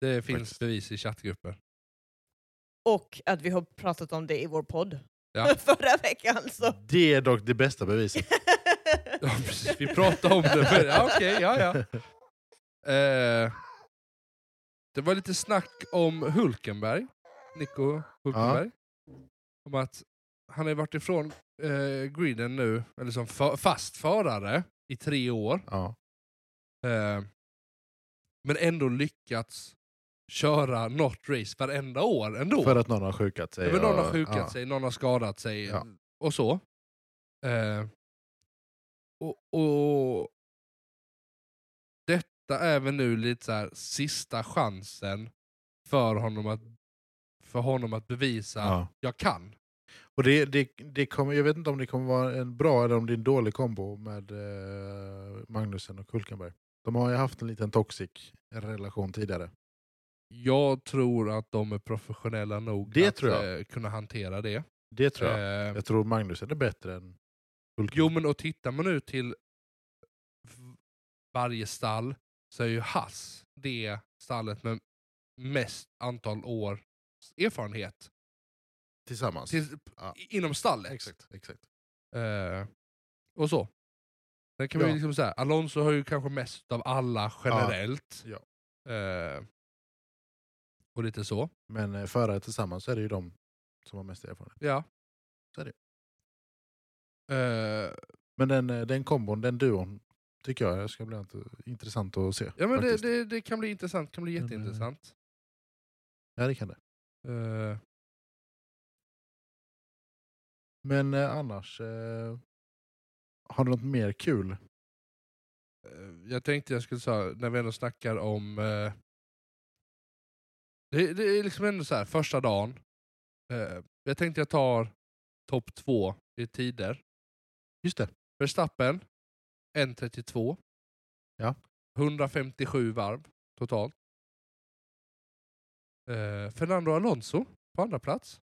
S3: det finns
S1: Faktiskt.
S3: bevis i chattgruppen.
S2: Och att vi har pratat om det i vår podd
S3: Ja.
S2: förra veckan. Så.
S1: Det är dock det bästa beviset.
S3: Ja, precis. Vi pratade om det. Men, ja, okej, ja, ja. Eh, det var lite snack om Hulkenberg, Nico Hulkenberg. Om att han har ju varit ifrån eh, griden nu, eller som fa- fast förare i tre år.
S1: Ja.
S3: Eh, men ändå lyckats köra något race varenda år ändå.
S1: För att någon har sjukat sig.
S3: Ja, men någon har
S1: och-
S3: sjukat
S1: ja.
S3: sig, någon har skadat sig
S1: Ja.
S3: och så. Eh, och, och Detta är väl nu lite så här, sista chansen för honom att, för honom att bevisa
S1: Ja.
S3: jag kan.
S1: Och det, det, det kommer, jag vet inte om det kommer vara en bra eller om det är en dålig kombo med eh, Magnusen och Hulkenberg. De har ju haft en liten toxic relation tidigare.
S3: Jag tror att de är professionella nog
S1: Det
S3: att
S1: tror jag.
S3: eh, kunna hantera det.
S1: Det tror jag.
S3: Eh,
S1: Jag tror Magnusen är bättre än Hulkenberg.
S3: Jo, men och tittar man nu till v- varje stall så är ju Hass det stallet med mest antal år erfarenhet
S1: Tillsammans.
S3: till,
S1: Alltså, Ja.
S3: inom stallet.
S1: Exakt. exakt.
S3: Eh, och så. Sen kan
S1: Ja.
S3: man ju liksom säga, Alonso har ju kanske mest av alla generellt.
S1: Ja.
S3: Eh, och lite så.
S1: Men eh, förare tillsammans så är det ju de som har mest erfarenhet.
S3: Ja.
S1: Så är det
S3: Eh,
S1: Men den, eh, den kombon, den duon, tycker jag. Det ska bli int- intressant att se.
S3: Ja, men det,
S1: faktiskt.
S3: det, det kan bli intressant, kan bli
S1: Men, eh,
S3: jätteintressant.
S1: Ja, det kan det.
S3: Eh,
S1: Men eh, annars, eh, har du något mer kul?
S3: Eh, Jag tänkte jag skulle säga, när vi ändå snackar om... Eh, det, det är liksom ändå så här, första dagen. Eh, jag tänkte jag tar topp två i tider.
S1: Just det.
S3: Verstappen, 1.32.
S1: Ja.
S3: 157 varv totalt. Eh, Fernando Alonso på andra plats.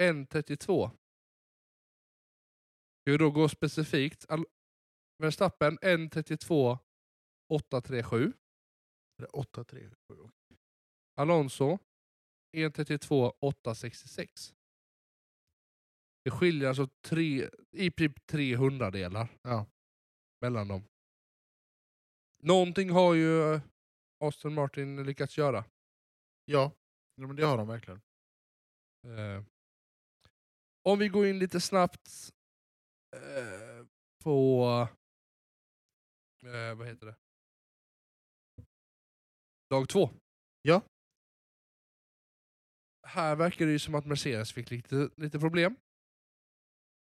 S3: 1.32. Ska vi då gå specifikt? Al- Verstappen 1.32 8.37.
S1: Är det 8-3? Oj, oj.
S3: Alonso 1.32 8.66. Det skiljer alltså tre, i princip 300 delar
S1: Ja.
S3: mellan dem. Någonting har ju eh, Aston Martin lyckats göra.
S1: Ja, ja men det har de verkligen.
S3: Eh, om vi går in lite snabbt eh, på... Eh, vad heter det? Dag två.
S1: Ja.
S3: Här verkar det ju som att Mercedes fick lite, lite problem.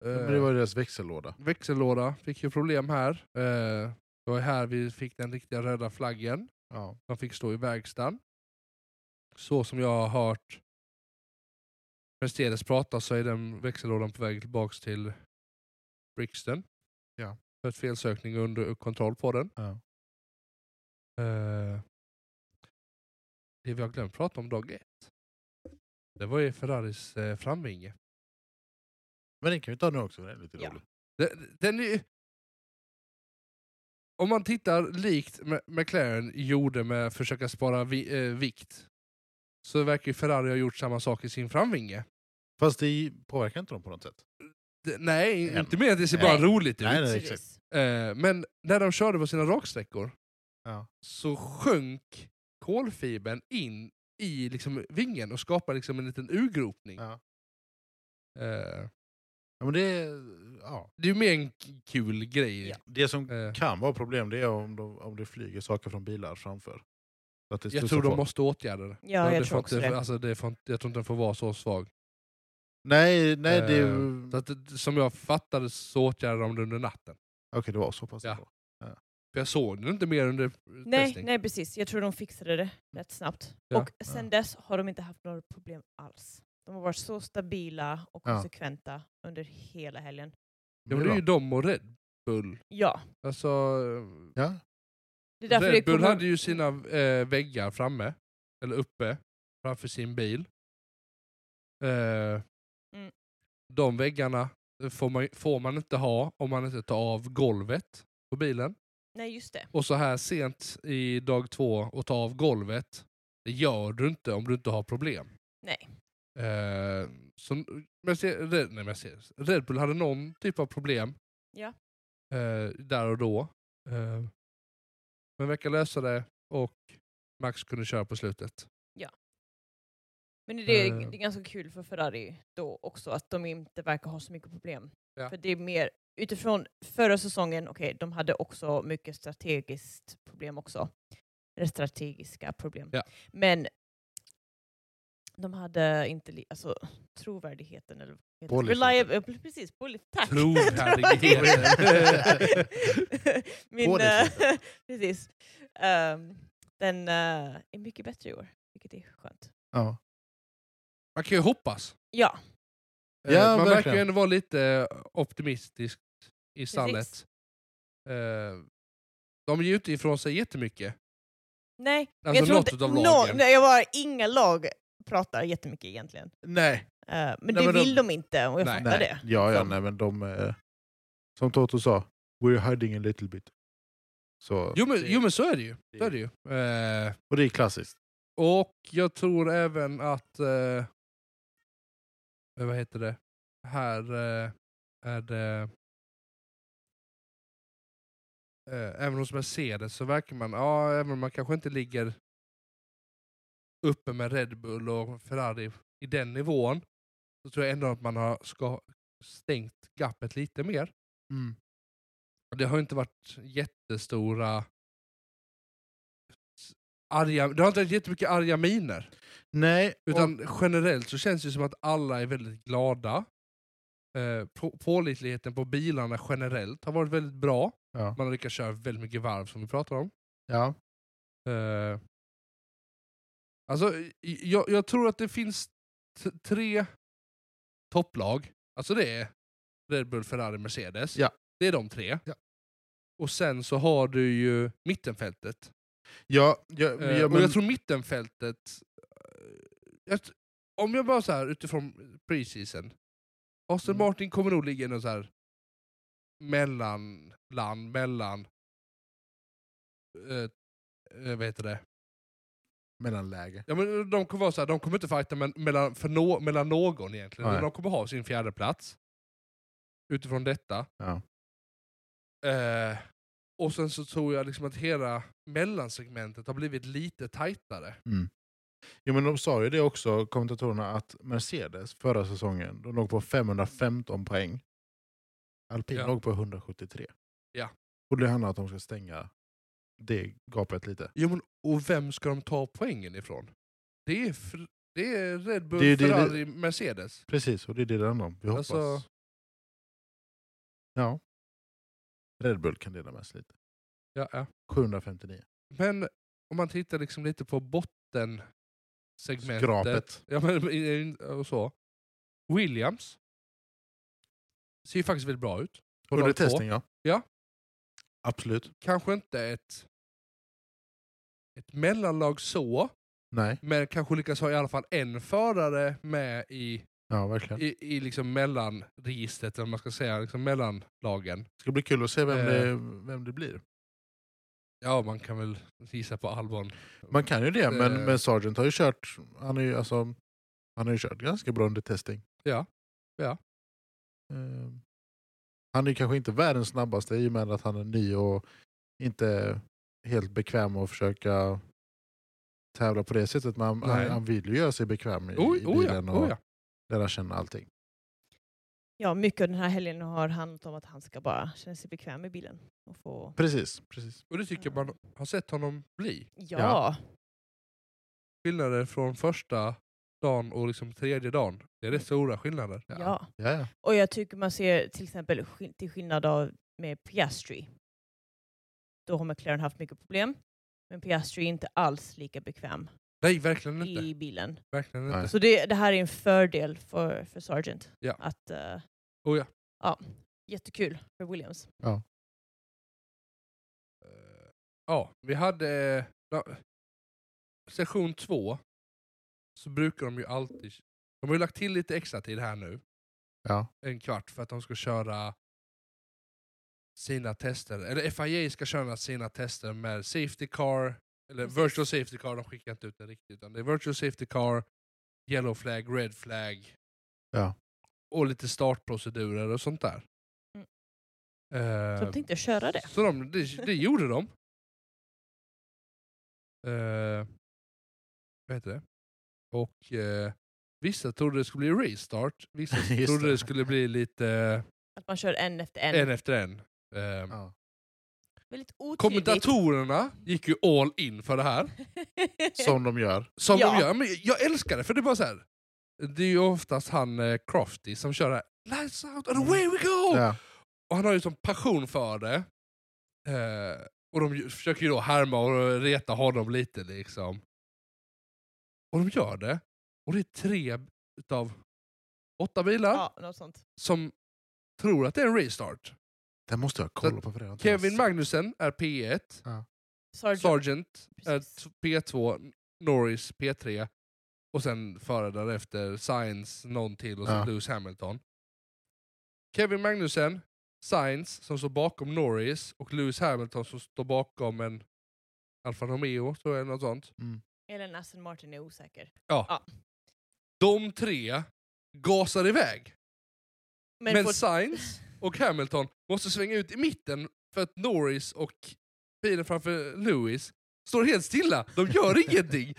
S3: Eh,
S1: Men det var ju deras växellåda.
S3: Växellåda fick ju problem här. Eh, det var här vi fick den riktiga röda flaggen.
S1: Ja.
S3: De fick stå i verkstaden. Så som jag har hört Mercedes prata så är den växellådan på väg tillbaks till Brixton.
S1: Ja.
S3: För ett felsökning under kontroll på den.
S1: Ja.
S3: Eh, det vi har glömt prata om dag ett. Det var ju Ferraris eh, framvinge.
S1: Men den kan vi ta nu också, för den är lite
S2: Ja.
S1: rolig.
S3: Den- Den är... Om man tittar likt Ma- McLaren gjorde med att försöka spara vi, eh, vikt så verkar ju Ferrari ha gjort samma sak i sin framvinge.
S1: Fast det påverkar inte dem på något sätt.
S3: Det- nej,
S1: Mm.
S3: inte mer att det ser bara
S2: Nej.
S3: roligt ut.
S1: Nej, nej.
S2: Precis.
S1: exakt.
S3: Eh, men när de körde på sina raksträckor
S1: Ja.
S3: så sjönk kolfibern in i liksom vingen och skapade liksom en liten urgropning.
S1: Ja.
S3: Eh,
S1: Ja, men det, ja.
S3: det är ju mer en k- kul grej.
S2: Ja.
S1: det som
S3: Eh,
S1: kan vara problem det är om, de, om det flyger saker från bilar framför. Så att det
S3: jag
S1: studsar
S3: tror de
S1: på.
S3: måste åtgärda det.
S2: Ja,
S3: det
S2: jag
S3: får
S2: tror också
S3: inte,
S2: det.
S3: Alltså, det får inte, jag tror inte den får vara så svag.
S1: Nej, nej det,
S3: Eh, Så att, det- som jag fattade så åtgärde de det under natten.
S1: Okej, det var så pass.
S3: Ja.
S1: bra.
S3: För jag såg den inte mer under
S2: Nej,
S3: testning.
S2: nej, precis. Jag tror de fixade det rätt snabbt.
S3: Ja.
S2: och sen dess har de inte haft några problem alls. De har varit så stabila och
S1: Ja.
S2: konsekventa under hela helgen.
S3: Ja, men det är ju de och Red Bull.
S2: Ja,
S3: Alltså,
S1: Ja,
S2: det är därför det
S3: Red Bull
S2: kommer...
S3: hade ju sina eh, väggar framme, eller uppe, framför sin bil. Eh,
S2: Mm.
S3: De väggarna får man, får man inte ha om man inte tar av golvet på bilen.
S2: Nej, just det.
S3: Och så här sent i dag två och ta av golvet, det gör du inte om du inte har problem.
S2: Nej.
S3: Eh, så Mercedes, Red, nej, Mercedes, Red Bull hade någon typ av problem
S2: Ja.
S3: eh, där och då. Eh, men verkar lösa det och Max kunde köra på slutet.
S2: Men det är,
S3: Eh.
S2: det är ganska kul för Ferrari då också att de inte verkar ha så mycket problem.
S3: Ja.
S2: För det är mer utifrån förra säsongen, okej, de hade också mycket strategiskt problem också. Eller strategiska problem.
S3: Ja.
S2: Men de hade inte li- alltså, trovärdigheten eller vad heter det?
S1: Pålitligheten.
S2: Reliable- precis, pålit- tack!
S3: Trovärdigheten.
S2: Min,
S1: Pålitligheten.
S2: eh, precis. Ehm, den eh, är mycket bättre i år, vilket är skönt.
S1: ja.
S3: Man kan ju hoppas.
S2: Ja,
S3: Eh,
S1: Ja,
S3: man verkar ju
S1: verkligen.
S3: ändå vara lite eh, optimistisk i stallet. Eh, de ger ju inte ifrån sig jättemycket.
S2: nej.
S3: Alltså
S2: jag tror
S3: något
S2: inte,
S3: utav
S2: nå-
S3: lagen.
S2: nej, jag bara, inga lag pratar jättemycket egentligen.
S1: Nej.
S2: Eh,
S1: Nej,
S2: men det
S1: men de-
S2: vill de inte och jag
S3: Nej.
S2: fattar det.
S1: Ja, ja,
S2: Som-
S1: nej, men de... eh, Som Toto sa, we're hiding a little bit. Så,
S3: Jo men,
S1: det,
S3: jo, men så är det ju. Så är det ju. Eh,
S1: Och det är klassiskt.
S3: Och jag tror även att... Eh, vad heter det? Här eh, är det... Eh, även hos Mercedes så verkar man, ja, även om man kanske inte ligger uppe med Red Bull och Ferrari i den nivån, Mm. så tror jag ändå att man har ska, stängt gapet lite mer. Det har inte varit jättestora s- arga, det har inte varit jättemycket arga miner.
S1: Nej, och,
S3: Utan generellt så känns det som att alla är väldigt glada. Eh, på, pålitligheten på bilarna generellt har varit väldigt bra.
S1: ja,
S3: Man har lyckats köra väldigt mycket varv som vi pratar om.
S1: ja,
S3: Eh, alltså, i- jag, jag tror att det finns t- tre topplag. Alltså det är Red Bull, Ferrari, Mercedes.
S1: Ja.
S3: Det är de tre.
S1: Ja.
S3: Och sen så har du ju mittenfältet.
S1: ja, ja,
S3: Eh,
S1: ja,
S3: Och
S1: men,
S3: jag tror mittenfältet... eh, Jag, t- om jag bara så här utifrån preseason. Aston
S1: Mm.
S3: Martin kommer nog ligga i någon så här mellanland, mellan... Eh, eh, vad heter det?
S1: mellanläge.
S3: Ja, men de kommer vara så här, de kommer inte fighta men, mellan, för nå- mellan någon egentligen.
S1: Nej.
S3: De kommer ha sin fjärde plats Utifrån detta.
S1: Ja.
S3: Eh, och sen så tror jag liksom att hela mellansegmentet har blivit lite tajtare.
S1: Jo, men de sa ju det också, kommentatorerna, att Mercedes förra säsongen de låg på 515 poäng. Alpin
S3: Ja.
S1: låg på 173.
S3: Ja.
S1: Och det handlar om att de ska stänga det gapet lite.
S3: Jo, men, och vem ska de ta poängen ifrån? Det är, fr- det är Red Bull,
S1: Det är- det är-
S3: Ferrari, Mercedes.
S1: Precis, och det är det det handlar om. Vi hoppas...
S3: Alltså-
S1: Ja. Red Bull kan dela med sig lite.
S3: Ja, ja.
S1: 759.
S3: Men om man tittar liksom lite på bottensegmentet.
S1: Skrapet.
S3: Ja, men, i- i- och så. Williams ser ju faktiskt väldigt bra ut. Och
S1: Under
S3: de två.
S1: testning, ja.
S3: Ja.
S1: Absolut.
S3: Kanske inte ett, ett mellanlag så,
S1: Nej.
S3: men kanske lyckas ha i alla fall en förare med i,
S1: Ja, verkligen. Det
S3: i, i liksom mellanregistret, eller vad man ska säga, liksom mellanlagen.
S1: ska bli kul att se vem,
S3: Eh.
S1: det, vem det blir.
S3: Ja, man kan väl gissa på Albon.
S1: Man kan ju det, men,
S3: Eh.
S1: men Sargent har ju kört, han är ju, alltså, han har ju kört ganska bra under testing.
S3: Ja. Ja.
S1: Eh, han är ju kanske inte världens snabbaste i och med att han är ny och inte helt bekväm att försöka tävla på det sättet. Men han, han,
S3: Nej.
S1: han vill ju göra sig bekväm i,
S3: Oj,
S1: i
S3: oh ja,
S1: bilen och
S3: oh ja.
S1: lära känna allting.
S2: Ja, mycket av den här helgen har handlat om att han ska bara känna sig bekväm i bilen. Och få...
S1: Precis, precis.
S3: Och det tycker jag man har sett honom bli.
S2: ja.
S1: Ja.
S3: Skillnader från första dagen och liksom tredje dagen. Det är rätt stora skillnader.
S2: ja,
S1: Mm. Ja, ja.
S2: Och jag tycker man ser till exempel skill- till skillnad av med Piastri. Då har McLaren haft mycket problem. Men Piastri är inte alls lika bekväm
S3: Nej, verkligen inte.
S2: i bilen.
S3: Verkligen
S1: Nej.
S3: inte.
S2: Så det, det här är en fördel för, för Sargent.
S3: Ja.
S2: Att, eh,
S3: Oh ja.
S2: ja, jättekul för Williams.
S3: Eh, Ja, vi hade... eh, ja, Session två så brukar de ju alltid... De har ju lagt till lite extra tid här nu,
S1: ja.
S3: en kvart, för att de ska köra sina tester. Eller FIA ska köra sina tester med Safety Car, eller
S2: Precis.
S3: Virtual Safety Car, de skickar inte ut det riktigt. Utan det är Virtual Safety Car, Yellow Flag, Red Flag
S1: Ja.
S3: och lite startprocedurer och sånt där.
S2: Mm.
S3: Eh,
S2: Så de tänkte köra det.
S3: så de, det, det gjorde de. Eh, vad heter det? Och eh, vissa trodde det skulle bli restart, vissa
S1: Just
S3: trodde
S1: det.
S3: det skulle bli lite eh,
S2: Att man kör en efter en.
S3: en efter en. Eh,
S1: ja.
S2: Väldigt otydligt.
S3: kommentatorerna gick ju all in för det här,
S1: Som de gör.
S3: som
S2: Ja.
S3: de gör. Men jag älskar det, för det är bara så här. Det är ju oftast han eh, Crofty som kör det här. Lights out and away we go!
S1: Ja.
S3: Och han har ju sån passion för det. Eh, och de ju- försöker ju då härma och reta honom lite liksom. Och de gör det. Och det är tre utav åtta bilar
S2: ja, något sånt.
S3: som tror att det är en restart.
S1: Det måste jag kolla på. För det. har jag inte
S3: Kevin
S1: sett.
S3: Magnussen är P1,
S2: Sargent.
S3: Sargent är
S2: Precis.
S3: eh, t- P2, Norris P3 och sen före därefter Sainz, någon till och sen
S1: Ja.
S3: Lewis Hamilton. Kevin Magnussen, Sainz som står bakom Norris och Lewis Hamilton som står bakom en Alfa Romeo, tror jag, eller något sånt.
S2: Eller en Aston Martin är osäker.
S3: De tre gasar iväg.
S2: Men,
S3: Men
S2: får-
S3: Sainz och Hamilton måste svänga ut i mitten för att Norris och bilen framför Lewis står helt stilla. De gör ingenting.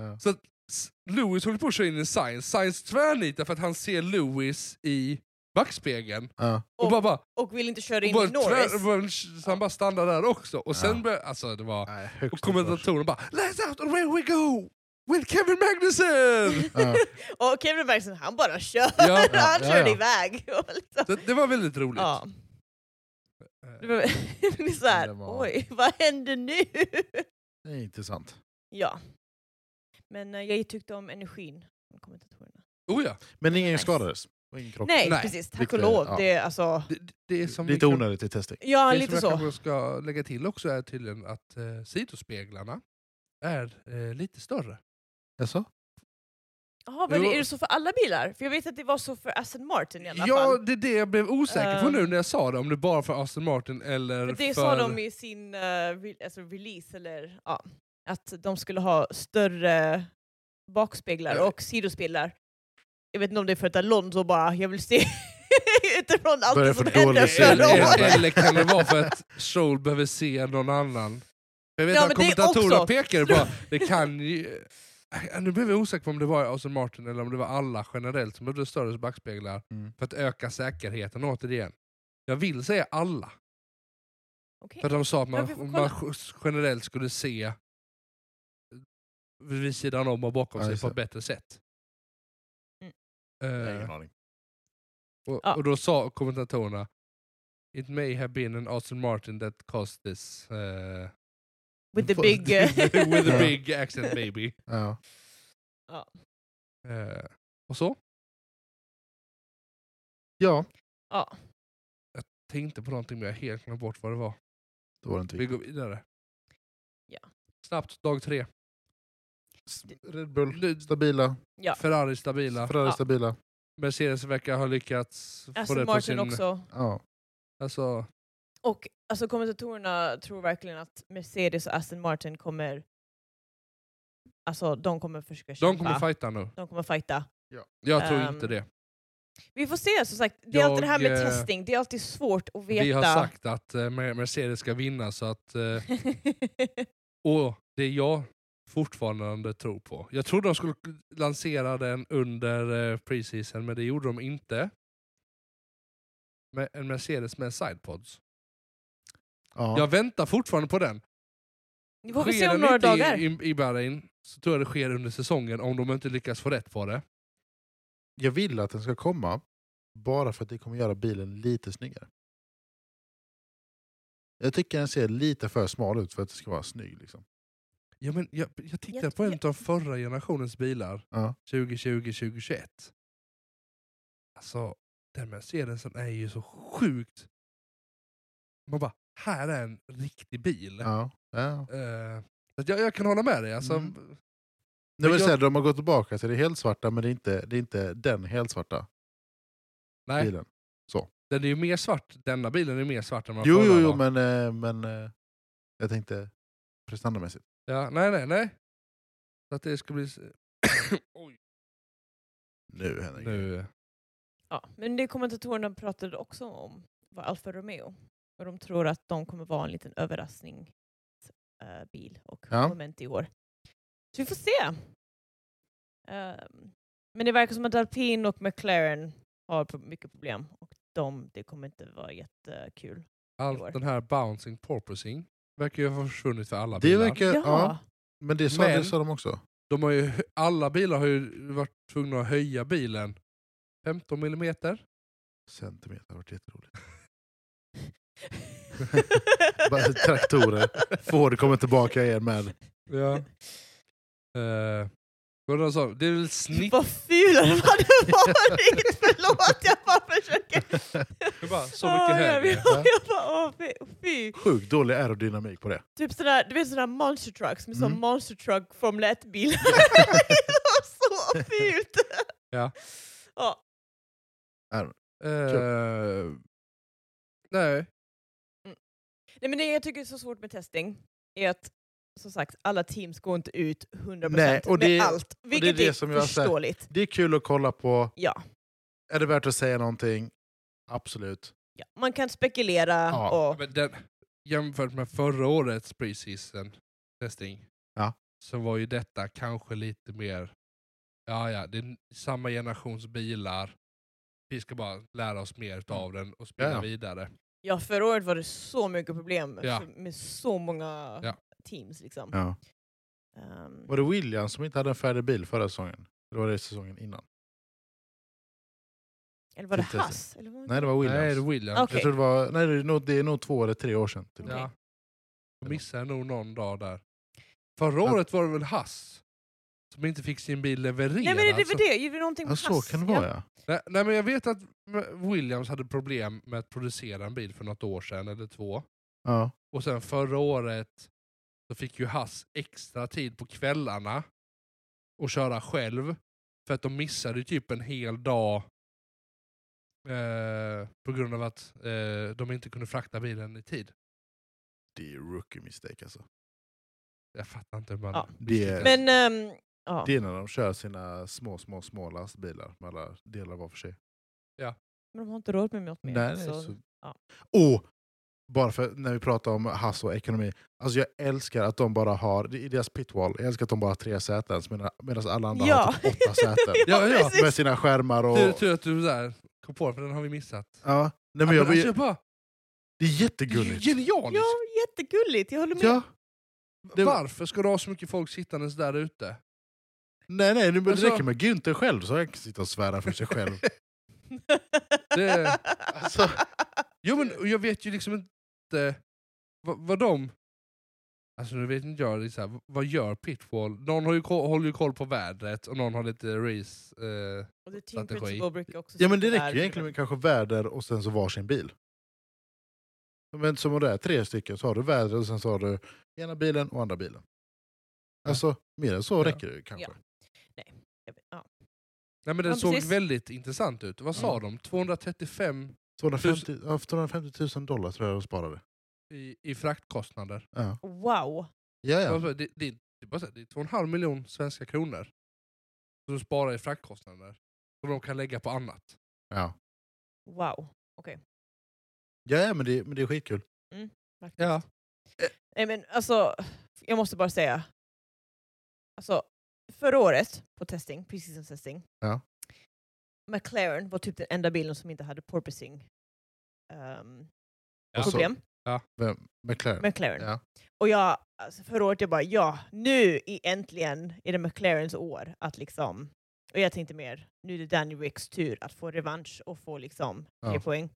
S1: Ja.
S3: Så att S- Lewis håller på att köra in i Sainz. Sainz tvärnitar för att han ser Lewis i backspegeln
S1: Ja.
S3: och,
S2: Och-
S3: bara, bara,
S2: Och vill inte köra
S3: och
S2: in
S3: bara
S2: i Norris.
S3: tvär, bara, så han bara stannar där också. Och sen
S1: Ja.
S3: började, alltså det var...
S1: Nej,
S3: Och
S1: högst upprörd.
S3: kommentatorerna bara Let's out and where we go! With Kevin Magnussen!
S1: Ja.
S2: Och Kevin Bergson, han bara kör.
S3: ja,
S1: Ja,
S2: han
S1: ja,
S2: körde
S1: ja.
S2: iväg. Och liksom.
S3: det, det var väldigt roligt.
S2: ja.
S3: Eh,
S2: Det var- det blir såhär,
S1: Det var-
S2: oj, vad händer nu?
S1: Det är intressant.
S2: ja. Men eh, jag tyckte om energin. från kommentatorerna.
S3: Oh ja.
S1: Men ingen
S2: Nice.
S1: skadades. Och ingen krock.
S2: Nej,
S3: Nej.
S2: precis. Tack
S1: Lite-
S2: och lov.
S1: ja.
S2: Det är alltså...
S3: Det, det är som liksom- vi
S1: Lite
S3: kan-
S1: onödigt i testing.
S2: Ja,
S3: det
S2: lite
S3: som jag
S2: så.
S3: kanske ska lägga till också är tydligen att eh, sidospeglarna är eh, lite större.
S1: Jaså?
S2: Jaha, men
S3: Jo.
S2: är det så för alla bilar? För jag vet att det var så för Aston Martin i alla
S3: Ja,
S2: fall.
S3: det är det jag blev osäker på
S2: Ehm.
S3: nu när jag sa det. Om det bara för Aston Martin eller
S2: För
S3: för...
S2: det sa de i sin eh, re- alltså release, eller ja, att de skulle ha större bakspeglar
S3: Ja.
S2: och sidospeglar. Jag vet inte om det är för att Alonso bara, jag vill se utifrån allt
S1: Börjar
S2: det som
S1: få dålig
S2: hände
S1: syn
S2: förra
S1: igen.
S2: året.
S1: Ja.
S3: eller, eller kan det vara för att Stroll behöver se någon annan? Jag vet
S2: Ja,
S3: att
S2: men det är
S3: kommentatorerna
S2: också-
S3: pekade bara, det kan ju... Eh, Nu blev jag osäker på om det var Aston Martin eller om det var alla generellt som behövde större backspeglar
S1: Mm.
S3: för att öka säkerheten återigen. Jag vill säga alla.
S2: Okej.
S3: För att de sa att
S2: Ja, vi får
S3: man,
S2: kolla.
S3: man generellt skulle se vid sidan om och bakom
S1: Ja,
S3: sig
S1: just
S3: på
S1: det.
S3: ett bättre sätt.
S2: Mm.
S1: Jag har
S3: Eh,
S1: ingen aning.
S3: och,
S2: Ja.
S3: och då sa kommentatorerna It may have been an Aston Martin that caused this eh,
S2: With the big... eh,
S3: with the
S1: Ja.
S3: big accident baby.
S1: Ja.
S3: Eh, och så,
S1: ja,
S2: ja.
S3: tänkte på någonting men jag har helt glömt bort vad det var.
S1: då var det inte vi.
S3: Vi går vidare.
S2: Ja.
S3: Snabbt, dag tre.
S1: S- Red Bull,
S3: Nu-
S1: stabila.
S2: Ja.
S3: Ferrari stabila.
S1: Ferrari
S2: Ja.
S1: stabila.
S3: Mercedes verkar ha lyckats få det
S2: Aston
S3: på
S2: Martin
S3: sin...
S2: också.
S1: Ja.
S3: Alltså,
S2: Och alltså, kommentatorerna tror verkligen att Mercedes och Aston Martin kommer... Alltså de kommer försöka kämpa.
S3: de kommer fighta nu.
S2: de kommer fighta.
S3: Jag tror
S2: Ehm,
S3: inte det.
S2: Vi får se som sagt. Det är alltid det här med
S3: Jag, eh,
S2: testing, det är alltid svårt att veta.
S3: Vi har sagt att eh, Mer- Mercedes ska vinna, så att... Eh, och det är jag fortfarande tror på. Jag trodde de skulle lansera den under eh, preseason, men det gjorde de inte. Med en Mercedes med sidepods.
S1: Ja.
S3: Jag väntar fortfarande på den.
S2: Vi får se
S3: Sker
S2: om
S3: den
S2: några
S3: inte
S2: dagar.
S3: I, i, i Bahrain så tror jag det sker under säsongen om de inte lyckas få rätt på det.
S1: Jag vill att den ska komma, bara för att det kommer göra bilen lite snyggare. Jag tycker den ser lite för smal ut för att det ska vara snygg. Liksom.
S3: Ja, men jag, jag tittade
S2: Jag-
S3: på en
S2: jag-
S3: av de förra generationens bilar,
S1: Ja.
S3: 2020, 2021. Alltså, den Mercedesen är ju så sjukt... Man bara, här är en riktig bil.
S1: Ja. Ja.
S3: Eh, så att jag, jag kan hålla med dig. Alltså,
S1: Mm. Det vill
S3: jag-
S1: säga, de har gått tillbaka till det helt svarta men det är inte, det är inte den helt svarta
S3: Nej,
S1: bilen.
S3: den är ju mer svart. Denna bilen är mer svart än vad
S1: Jo,
S3: förra
S1: jo, jo
S3: var.
S1: men, eh, men eh, jag tänkte prestandamässigt.
S3: Ja, nej, nej, nej. Så att det ska bli... s- Oj,
S1: Nu Henrik.
S3: nu.
S2: Ja, men det kommentatorerna pratade också om var Alfa Romeo. Och de tror att de kommer vara en liten överraskningsbil och
S1: Ja.
S2: moment i år. Så vi får se. Ehm, men det verkar som att Alpin och McLaren har pro- mycket problem. Och de, det kommer inte vara jättekul. år.
S3: Allt den här bouncing porpoising verkar ju ha försvunnit för alla
S1: Det
S3: bilar.
S1: verkar, ja. men det sa,
S3: Men-
S1: det sa de också.
S3: De har ju, alla bilar har ju varit tvungna att höja bilen 15 millimeter.
S1: Centimeter har varit jätteroligt. Bara traktorer. Ford kommer tillbaka igen med.
S3: Ja. Eh, vad de sa, det är väl snitt...
S2: Vad ful det hade varit! Förlåt, jag bara försöker...
S3: Jag bara, så
S2: Ah,
S3: mycket
S2: jag,
S3: högre.
S2: vet. jag bara, åh, fy- fy.
S1: Sjukt dålig aerodynamik på det.
S2: Typ sådär, du vet sådana monster trucks med
S1: Mm.
S2: sån monster truck Formel 1-bil. så fult!
S3: Ja.
S2: ja.
S3: Eh, nej,
S2: Nej, men det jag tycker är så svårt med testing är att som sagt, alla teams går inte ut 100%
S1: Nej, och det-
S2: med allt. Vilket
S1: det
S2: är
S1: som jag har sagt.
S2: förståeligt.
S1: Det är kul att kolla på.
S2: Ja.
S1: Är det värt att säga någonting? Absolut.
S2: ja. Man kan spekulera
S1: Ja,
S2: och...
S3: men den, jämfört med förra årets preseason testing
S1: Ja.
S3: så var ju detta kanske lite mer... Ja, ja, det är samma generations bilar. vi ska bara lära oss mer av den och spinna
S1: Mm. Ja, ja.
S3: vidare.
S2: Ja, förra året var det så mycket problem
S3: Ja.
S2: så- med så många
S3: Ja.
S2: teams. Liksom.
S1: Ja.
S2: Ehm,
S1: Var det William som inte hade en färdig bil förra säsongen? Eller var det säsongen innan?
S2: eller var det
S1: Tittar sig.
S2: Hass? Eller var det...
S1: Nej, det var Williams.
S3: Nej, det är Williams.
S2: Okej.
S1: Jag tror det, var, nej, det, är nog, det är nog två eller tre år sedan. Till. och med.
S3: Ja.
S2: Okej.
S3: Då missade jag nog någon dag där. Förra året var det väl Hass som inte fick sin bil levererad.
S2: Nej, men det
S3: så-
S2: var det. Gjorde vi någonting med
S1: Ja, så
S2: Haas?
S1: kan det vara ja.
S3: Nej, nej, men jag vet att Williams hade problem med att producera en bil för något år sedan eller två.
S1: ja.
S3: Och sen förra året så fick ju Hass extra tid på kvällarna och köra själv. För att de missade ju typ en hel dag eh, på grund av att eh, de inte kunde frakta bilen i tid.
S1: Det är ju rookie mistake alltså.
S3: Jag fattar inte hur man...
S2: Ja.
S1: Det är,
S2: Men, ehm, ja.
S1: det är när de kör sina små, små, små lastbilar med alla delar var för sig.
S2: men de har inte råd med något mer.
S1: Nej,
S2: så-
S1: så... Så...
S2: ja.
S1: Och bara för när vi pratar om Hass och ekonomi. Alltså jag älskar att de bara har, i deras pitwall, jag älskar att de bara har tre säten medan alla andra har
S2: Ja.
S1: typ åtta säten.
S3: Ja, ja.
S2: precis.
S1: Med sina skärmar och...
S3: Tur, tur att du där kom på det, för den har vi missat.
S1: Ja. Nej, men
S3: Ja,
S1: jag,
S3: men alltså, jag bara,
S1: det är
S3: det är ju
S1: jättegulligt.
S3: genialiskt!
S2: Ja, jättegulligt. Jag håller med.
S1: Ja. det-
S3: Varför ska du ha så mycket folk sittandes där ute?
S1: Nej, nej, nu
S3: Alltså-
S1: det räcker med Günther själv så han kan sitta och svära för sig själv.
S3: Det-
S1: Alltså,
S3: Jo men och jag vet ju liksom inte vad, vad de... Alltså nu vet inte jag, liksom, här, vad gör Pitwall? Någon har ju koll, håller ju koll på vädret och någon har lite race... Eh,
S2: Och det team
S3: Strategi.
S2: principal brukar också
S1: ja, men det
S2: sitta
S1: räcker
S2: där.
S1: ju egentligen med kanske väder och sen så varsin bil. Men som om det är tre stycken så har du väder och sen så har du ena bilen och andra bilen. Alltså, mer än så
S3: Ja.
S1: räcker det ju kanske.
S2: Ja.
S3: nej men den Mm.
S2: Ja,
S3: såg
S2: precis.
S3: väldigt intressant ut. Vad sa de? 235
S1: 250, ja, 250 000 dollar tror jag de sparade.
S3: i, i fraktkostnader.
S1: Ja,
S2: Wow.
S1: ja. ja.
S3: Alltså, Det, det, det, är bara så här, det är 2,5 miljon svenska kronor. Som du sparar i fraktkostnader. Som de kan lägga på annat.
S1: ja.
S2: Wow.
S1: ja, ja men, det, men det är skitkul.
S2: Faktiskt. Nej men alltså, jag måste bara säga. Alltså, förra året på testing, precis som testing,
S1: Ja.
S2: McLaren var typ den enda bilen som inte hade porpoising ehm,
S3: Ja.
S1: Och så-
S2: problem.
S1: Vem? McLaren?
S2: McLaren.
S1: Ja.
S2: Och jag, alltså förra året jag bara ja, nu i äntligen är det McLarens år att liksom, och jag tänkte mer, nu är det Danny Ricks tur att få revansch och få liksom tre
S1: Ja.
S2: poäng.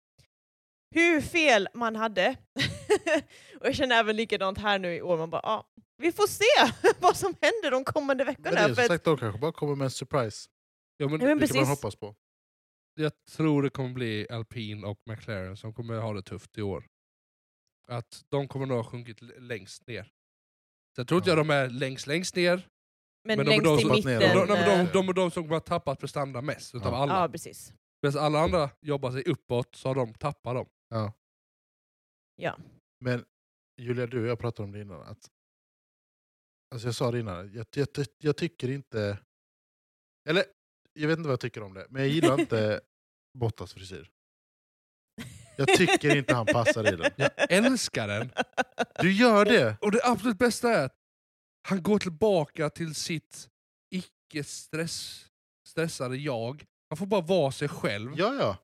S2: Hur fel man hade. och jag känner även likadant här nu i år, man bara ja, vi får se vad som händer de kommande
S1: Men det är
S2: veckorna. För
S1: som
S2: att-
S1: sagt, de kanske bara kommer med en surprise.
S3: Ja, men
S2: Ja, men
S1: Det kan man
S2: precis.
S1: hoppas på.
S3: jag tror det kommer bli Alpin och McLaren som kommer ha det tufft i år. Att de kommer nog ha sjunkit l- längst ner. Så jag tror inte
S1: Ja.
S3: jag de är längst, längst ner.
S2: Men,
S3: Men de-
S2: längst
S3: de
S2: i
S3: som-
S1: de- de-
S2: mitten.
S3: De, de, de,
S2: eh,
S3: de, de, de som har tappat prestanda mest utav
S1: Ja.
S3: alla.
S2: ja, precis.
S3: Medan alla andra jobbar sig uppåt så har de tappat dem.
S1: Ja.
S2: Ja.
S1: Men Julia, du och jag pratade om det innan. Att, alltså jag sa det innan, jag, jag, ty- jag tycker inte... Eller, jag vet inte vad jag tycker om det, men jag gillar inte Bottas frisyr. Jag tycker inte han passar i den.
S3: Jag älskar den.
S1: Du gör det!
S3: Och det absolut bästa är att han går tillbaka till sitt icke-stressade jag. Han får bara vara sig själv.
S1: Ja, ja.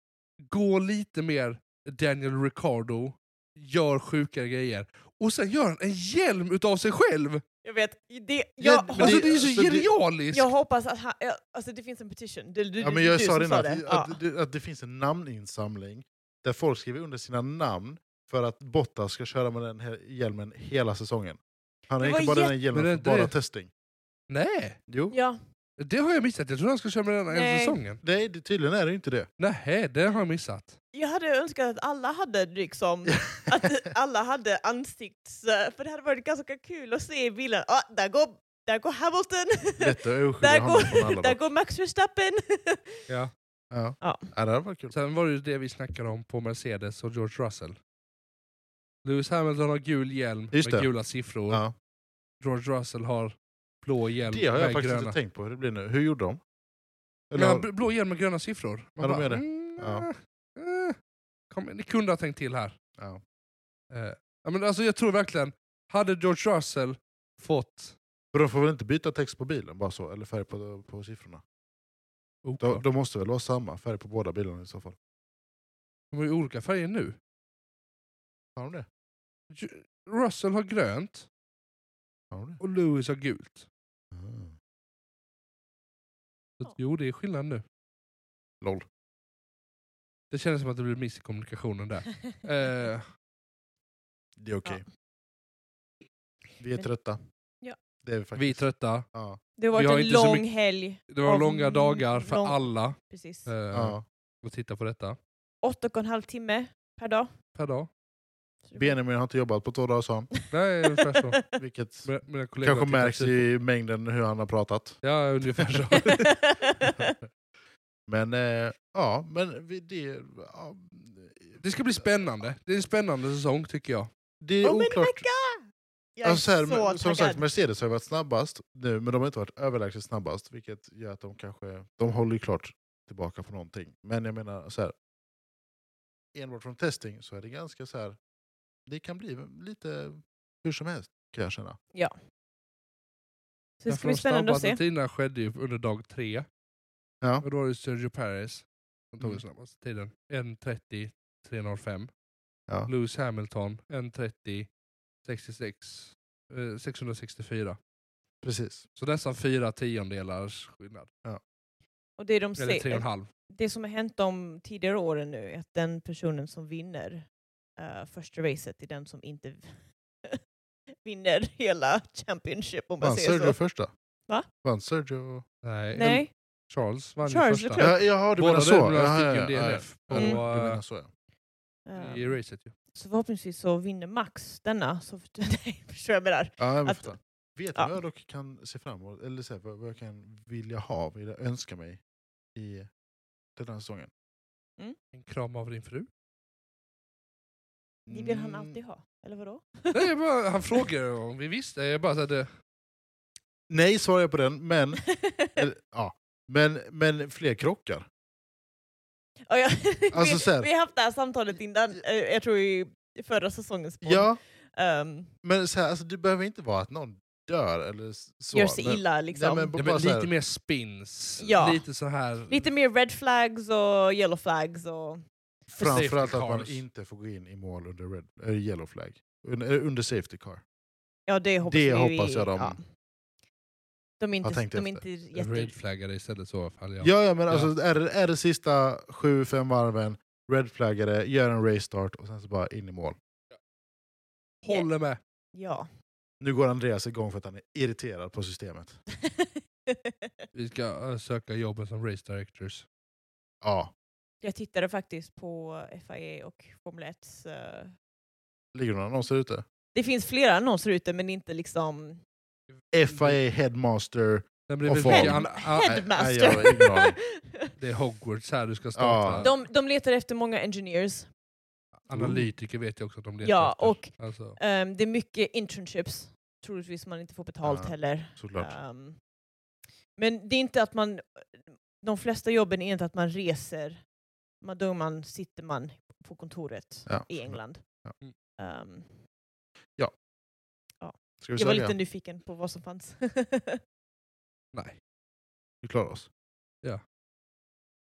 S3: gå lite mer Daniel Ricardo, gör sjuka grejer, och sen gör han en hjälm utav sig själv!
S2: Jag vet, det,
S1: Ja,
S2: jag,
S1: men
S3: alltså
S1: det-
S3: det är ju så
S1: alltså, det-
S3: genialiskt!
S2: jag hoppas att han, jag- alltså det finns en petition. Det, det,
S1: ja
S2: det,
S1: men
S2: är
S1: jag
S2: du
S1: sa
S2: som
S1: det innan, att,
S2: Ja.
S1: att, det- att det finns en namninsamling där folk skriver under sina namn för att Bottas ska köra med den här hjälmen hela säsongen. Han har
S2: Det
S1: egentligen
S2: var
S1: bara den här
S3: Men
S1: hjälmen
S3: det-
S1: för bara
S3: det-
S1: testing.
S3: Nej,
S1: Jo.
S2: Ja.
S3: det har jag missat. Jag tror han ska köra med den här hela
S2: Nej.
S3: säsongen.
S1: Nej, det, tydligen är det inte det.
S3: Nej, det har jag missat.
S2: Jag hade önskat att alla hade liksom, att alla hade ansikts... eh, För det hade varit ganska kul att se i bilen. Ah, där, går, där går Hamilton,
S1: Lätt att
S2: Där
S1: urskilja honom
S2: går-
S1: från alla.
S2: där
S1: Där
S2: går Max Verstappen.
S3: Ja.
S1: Ja.
S2: Ja.
S1: Ja, det hade varit kul.
S3: Sen var det ju det vi snackade om på Mercedes och George Russell. Lewis Hamilton har gul hjälm
S1: Just
S3: med
S1: det.
S3: gula siffror.
S1: Ja.
S3: George Russell har blå hjälm
S1: Det har jag
S3: med
S1: faktiskt
S3: gröna.
S1: inte tänkt på hur det blir nu. Hur gjorde de? Eller,
S3: Ja, bl- blå hjälm med gröna siffror.
S1: Ja, de gör det.
S3: mm,
S1: Ja.
S3: eh, kom, ni kunde ha tänkt till här.
S1: ja.
S3: Eh, ja, men alltså, jag tror verkligen, hade George Russell fått...
S1: För de får väl inte byta text på bilen bara så? Eller färg på, på siffrorna? Då,
S3: Oklart.
S1: då måste det väl vara samma färg på båda bilarna i så fall.
S3: De har ju olika färger nu.
S1: Har de det?
S3: Ju- Russell har grönt
S1: Har de det?
S3: och Lewis har gult.
S1: Ah.
S3: Så att, Jo, det är skillnad nu.
S1: Lol.
S3: Det känns som att det blir miss i kommunikationen där. Eh,
S1: Det är okej. Vi är
S2: Men-
S1: trötta.
S2: Ja.
S1: Det är vi
S3: vi är
S1: faktiskt.
S3: trötta.
S1: ja.
S2: Det har
S3: Vi
S2: varit
S3: har
S2: en
S3: inte så
S2: lång
S3: mycket-
S2: helg.
S3: Det var
S2: Av
S3: långa dagar för
S2: lång-
S3: alla
S2: Precis.
S3: eh,
S1: Ja.
S3: att titta på detta
S2: Åtta och en halv timme per dag.
S3: per dag.
S2: Så det var-
S1: Benjamin har inte jobbat på två dagar sa han.
S3: Nej, ungefär så.
S1: Vilket
S3: Mina- Mina kollegor
S1: kanske
S3: har
S1: märks
S3: tittat
S1: i mängden hur han har pratat.
S3: Ja, ungefär så.
S1: Men eh, ja, men vi, det, ja,
S3: Det ska bli spännande. Det är en spännande säsong tycker jag.
S1: det är
S2: Om en
S1: oklart.
S2: vecka! Jag är
S1: Alltså här, men-
S2: så
S1: som
S2: taggad.
S1: sagt, Mercedes har ju varit snabbast nu, men de har inte varit överlägset snabbast, vilket gör att de kanske de håller ju klart tillbaka på någonting. Men jag menar, så här, enbart från testing så är det ganska så här, det kan bli lite hur som helst kan jag känna.
S2: så det
S3: Därför
S2: ska bli
S3: de
S2: spännande att
S3: snabbaste
S2: se.
S3: tiderna skedde ju under dag tre.
S1: Ja.
S3: Och då är det Sergio Perez som tog den
S1: Mm.
S3: snabbaste tiden. 1.30.305.
S1: Ja.
S3: Lewis Hamilton 1.30.66. Eh, 664.
S1: Precis.
S3: Så nästan fyra tiondelars skillnad.
S2: Och det, de
S3: Eller tre och
S2: ser,
S3: en halv.
S2: det som har hänt de tidigare åren nu är att den personen som vinner eh, första racet är den som inte vinner hela Championship om man
S1: Vann
S2: säger
S1: Sergio
S2: så.
S1: första?
S2: Va?
S1: Vann Sergio...
S3: Nej.
S2: Nej,
S3: Charles vann
S2: Charles,
S3: ju
S2: det
S3: första.
S2: tror Mm.
S1: Ja, jaha, du
S3: Båda
S1: menar så?
S3: de
S1: Jaha,
S3: fick ju
S1: ja, ja,
S3: DNF på,
S1: ja. Du
S3: eh,
S1: menar så ja.
S2: eh,
S3: I racet ju.
S2: så förhoppningsvis så vinner Max denna. Så nej, förstår jag vad jag menar?
S1: Ja, jag
S2: Att-
S1: fattar. Vet du
S2: ja.
S1: vad jag dock kan se fram emot, eller så här, vad vad jag kan vilja ha, vilja önska mig i den här säsongen?
S3: En kram av din fru.
S2: Det vill han
S1: Mm,
S2: alltid ha, eller vadå?
S3: Nej, jag bara, han frågade om vi visste. Jag bara sa det.
S1: Nej, svarar jag på den, men, eller, ja, men, men fler krockar.
S2: Ja, ja.
S1: Alltså
S2: vi,
S1: så här-
S2: vi har haft det här samtalet innan, eh, jag tror i förra säsongens podd.
S1: Ja,
S2: Ehm,
S1: men så här, alltså, det behöver inte vara att någon dör eller s- så.
S2: gör sig
S1: men,
S2: illa liksom.
S1: men
S3: Ja,
S1: Bara
S3: men
S1: så här-
S3: lite mer spins.
S2: Ja.
S3: Lite så här...
S2: Lite mer red flags och yellow flags. Och...
S1: Framförallt
S3: Safety
S1: att man
S3: cars.
S1: inte får gå in i mål under red, eh, yellow flag. Under, eh, under safety car.
S2: Ja, det hoppas,
S1: Det
S2: vi,
S1: hoppas jag de
S2: De är
S1: har
S2: inte,
S1: tänkt
S2: de är
S1: efter.
S2: inte jätte...
S3: Redflaggade istället så i alla fall. Ja.
S1: Ja, ja men alltså är det, är det sista 7-5 varven, red flaggade, gör en race start och sen så bara in i mål.
S3: Håller med.
S2: Ja.
S1: Nu går Andreas igång för att han är irriterad på systemet.
S3: Vi ska eh, söka jobben som race directors.
S1: Ja,
S2: jag tittade faktiskt på FIA och Formel 1. eh,
S1: ligger några annonser ute?
S2: Det finns flera annonser ute men inte liksom...
S3: Mm.
S1: FIA Headmaster.
S3: Det, blir
S1: Och
S3: väl
S1: form.
S3: mycket an- an-
S1: nej,
S2: Headmaster!
S1: jag har ingen aning.
S3: det är Hogwarts här du ska starta.
S1: Ja.
S2: de, de letar efter många engineers.
S3: Analytiker vet jag också att de letar
S2: Ja,
S3: efter.
S2: och-
S3: Alltså,
S2: Ehm, det är mycket internships, troligtvis man inte får betalt
S1: Ja,
S2: heller.
S1: Såklart.
S2: Ehm, men det är inte att man, de flesta jobben är inte att man reser, man, då man sitter man på kontoret
S1: Ja.
S2: i England.
S1: Ja.
S2: Ehm,
S1: Ska vi
S2: jag var
S1: sälja?
S2: lite nyfiken på vad som fanns.
S3: nej.
S1: Vi klarar oss.
S3: Ja.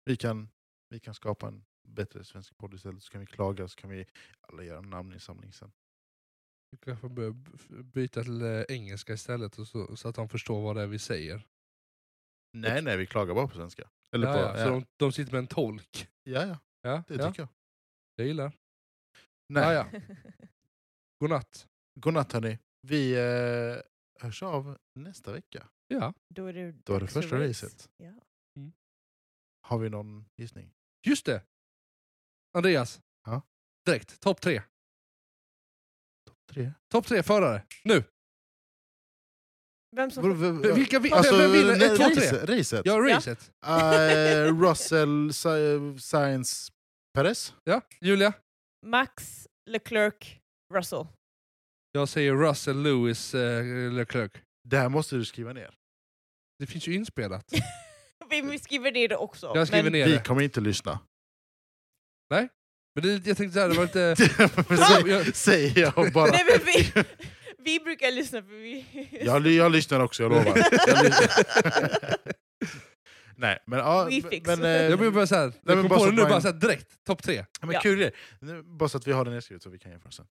S1: Vi kan, vi kan skapa en bättre svensk podd istället, så kan vi klaga så kan vi alla göra en namninsamling sen.
S3: Vi kanske bör b- f- byta till eh, engelska istället och så, så att de förstår vad det är vi säger.
S1: Nej, nej, vi klagar bara på svenska. Eller
S3: Ja,
S1: på,
S3: ja. Så de, de sitter med en tolk.
S1: ja, ja,
S3: Ja,
S1: det
S3: ja.
S1: tycker jag.
S3: Jag gillar.
S1: Nej.
S3: Ja, ja. Godnatt.
S1: Godnatt hörni. Vi eh, hörs av nästa vecka.
S3: Ja.
S2: då är det,
S1: Då är det
S2: dags för
S1: första
S2: race.
S1: racet.
S2: Ja.
S1: Har vi någon gissning?
S3: Just det! Andreas.
S1: Ja.
S3: Direkt. Topp tre.
S1: Tre?
S3: Topp tre förare. Nu!
S2: Vem som
S1: Vadå, v- v-
S3: Vilka, vi,
S1: Alltså,
S3: vem vinner?
S1: nej,
S3: Ett, två, tre.
S1: race- racet?
S3: Ja,
S2: Ja.
S3: racet.
S1: Eh, Russell Sa- Sainz Perez.
S3: Ja. Julia?
S2: Max, Leclerc, Russell.
S3: Jag säger Russell Lewis eh, Leclerc.
S1: Det här måste du skriva ner.
S3: Det finns ju inspelat.
S2: Vi- Vi skriver ner det också.
S3: Jag skriver
S2: men-
S3: ner
S1: Vi
S3: det.
S1: kommer inte lyssna.
S3: Men det, jag tänkte såhär, det var lite...
S1: Säg-
S3: Jag-
S1: Säger jag bara.
S2: Nej, men vi, vi brukar lyssna för vi...
S1: Jag, ly- jag lyssnar också, jag lovar. Jag lyssnar. Nej, men, ja,
S2: We
S1: men,
S2: fix.
S1: men, eh,
S3: Jag blir bara såhär, jag
S1: men
S3: kom
S1: bara
S3: på
S1: så
S3: det
S1: att
S3: nu
S1: man-
S3: bara såhär direkt, topp tre.
S1: men
S2: Ja.
S1: kul grej. Nu- Bara så att vi har den nedskriven så vi kan jämföra sen.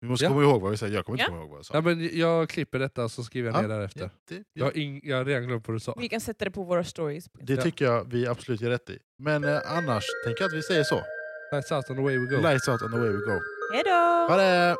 S1: Vi måste
S3: Ja.
S1: komma ihåg vad vi säger. Jag kommer inte
S2: Ja.
S1: komma ihåg vad jag sa.
S3: Ja, men jag klipper detta och så skriver jag
S1: Ja,
S3: ner därefter.
S1: Jätte-
S3: Jag, har ing- jag har redan glömt vad du sa.
S2: Vi kan sätta det på våra stories.
S1: Det
S3: Ja.
S1: tycker jag vi absolut gör rätt i. Men eh, annars tänker jag att vi säger så.
S3: Lights out and away we go.
S1: Lights out and away we go.
S2: Hejdå!
S1: Ha det!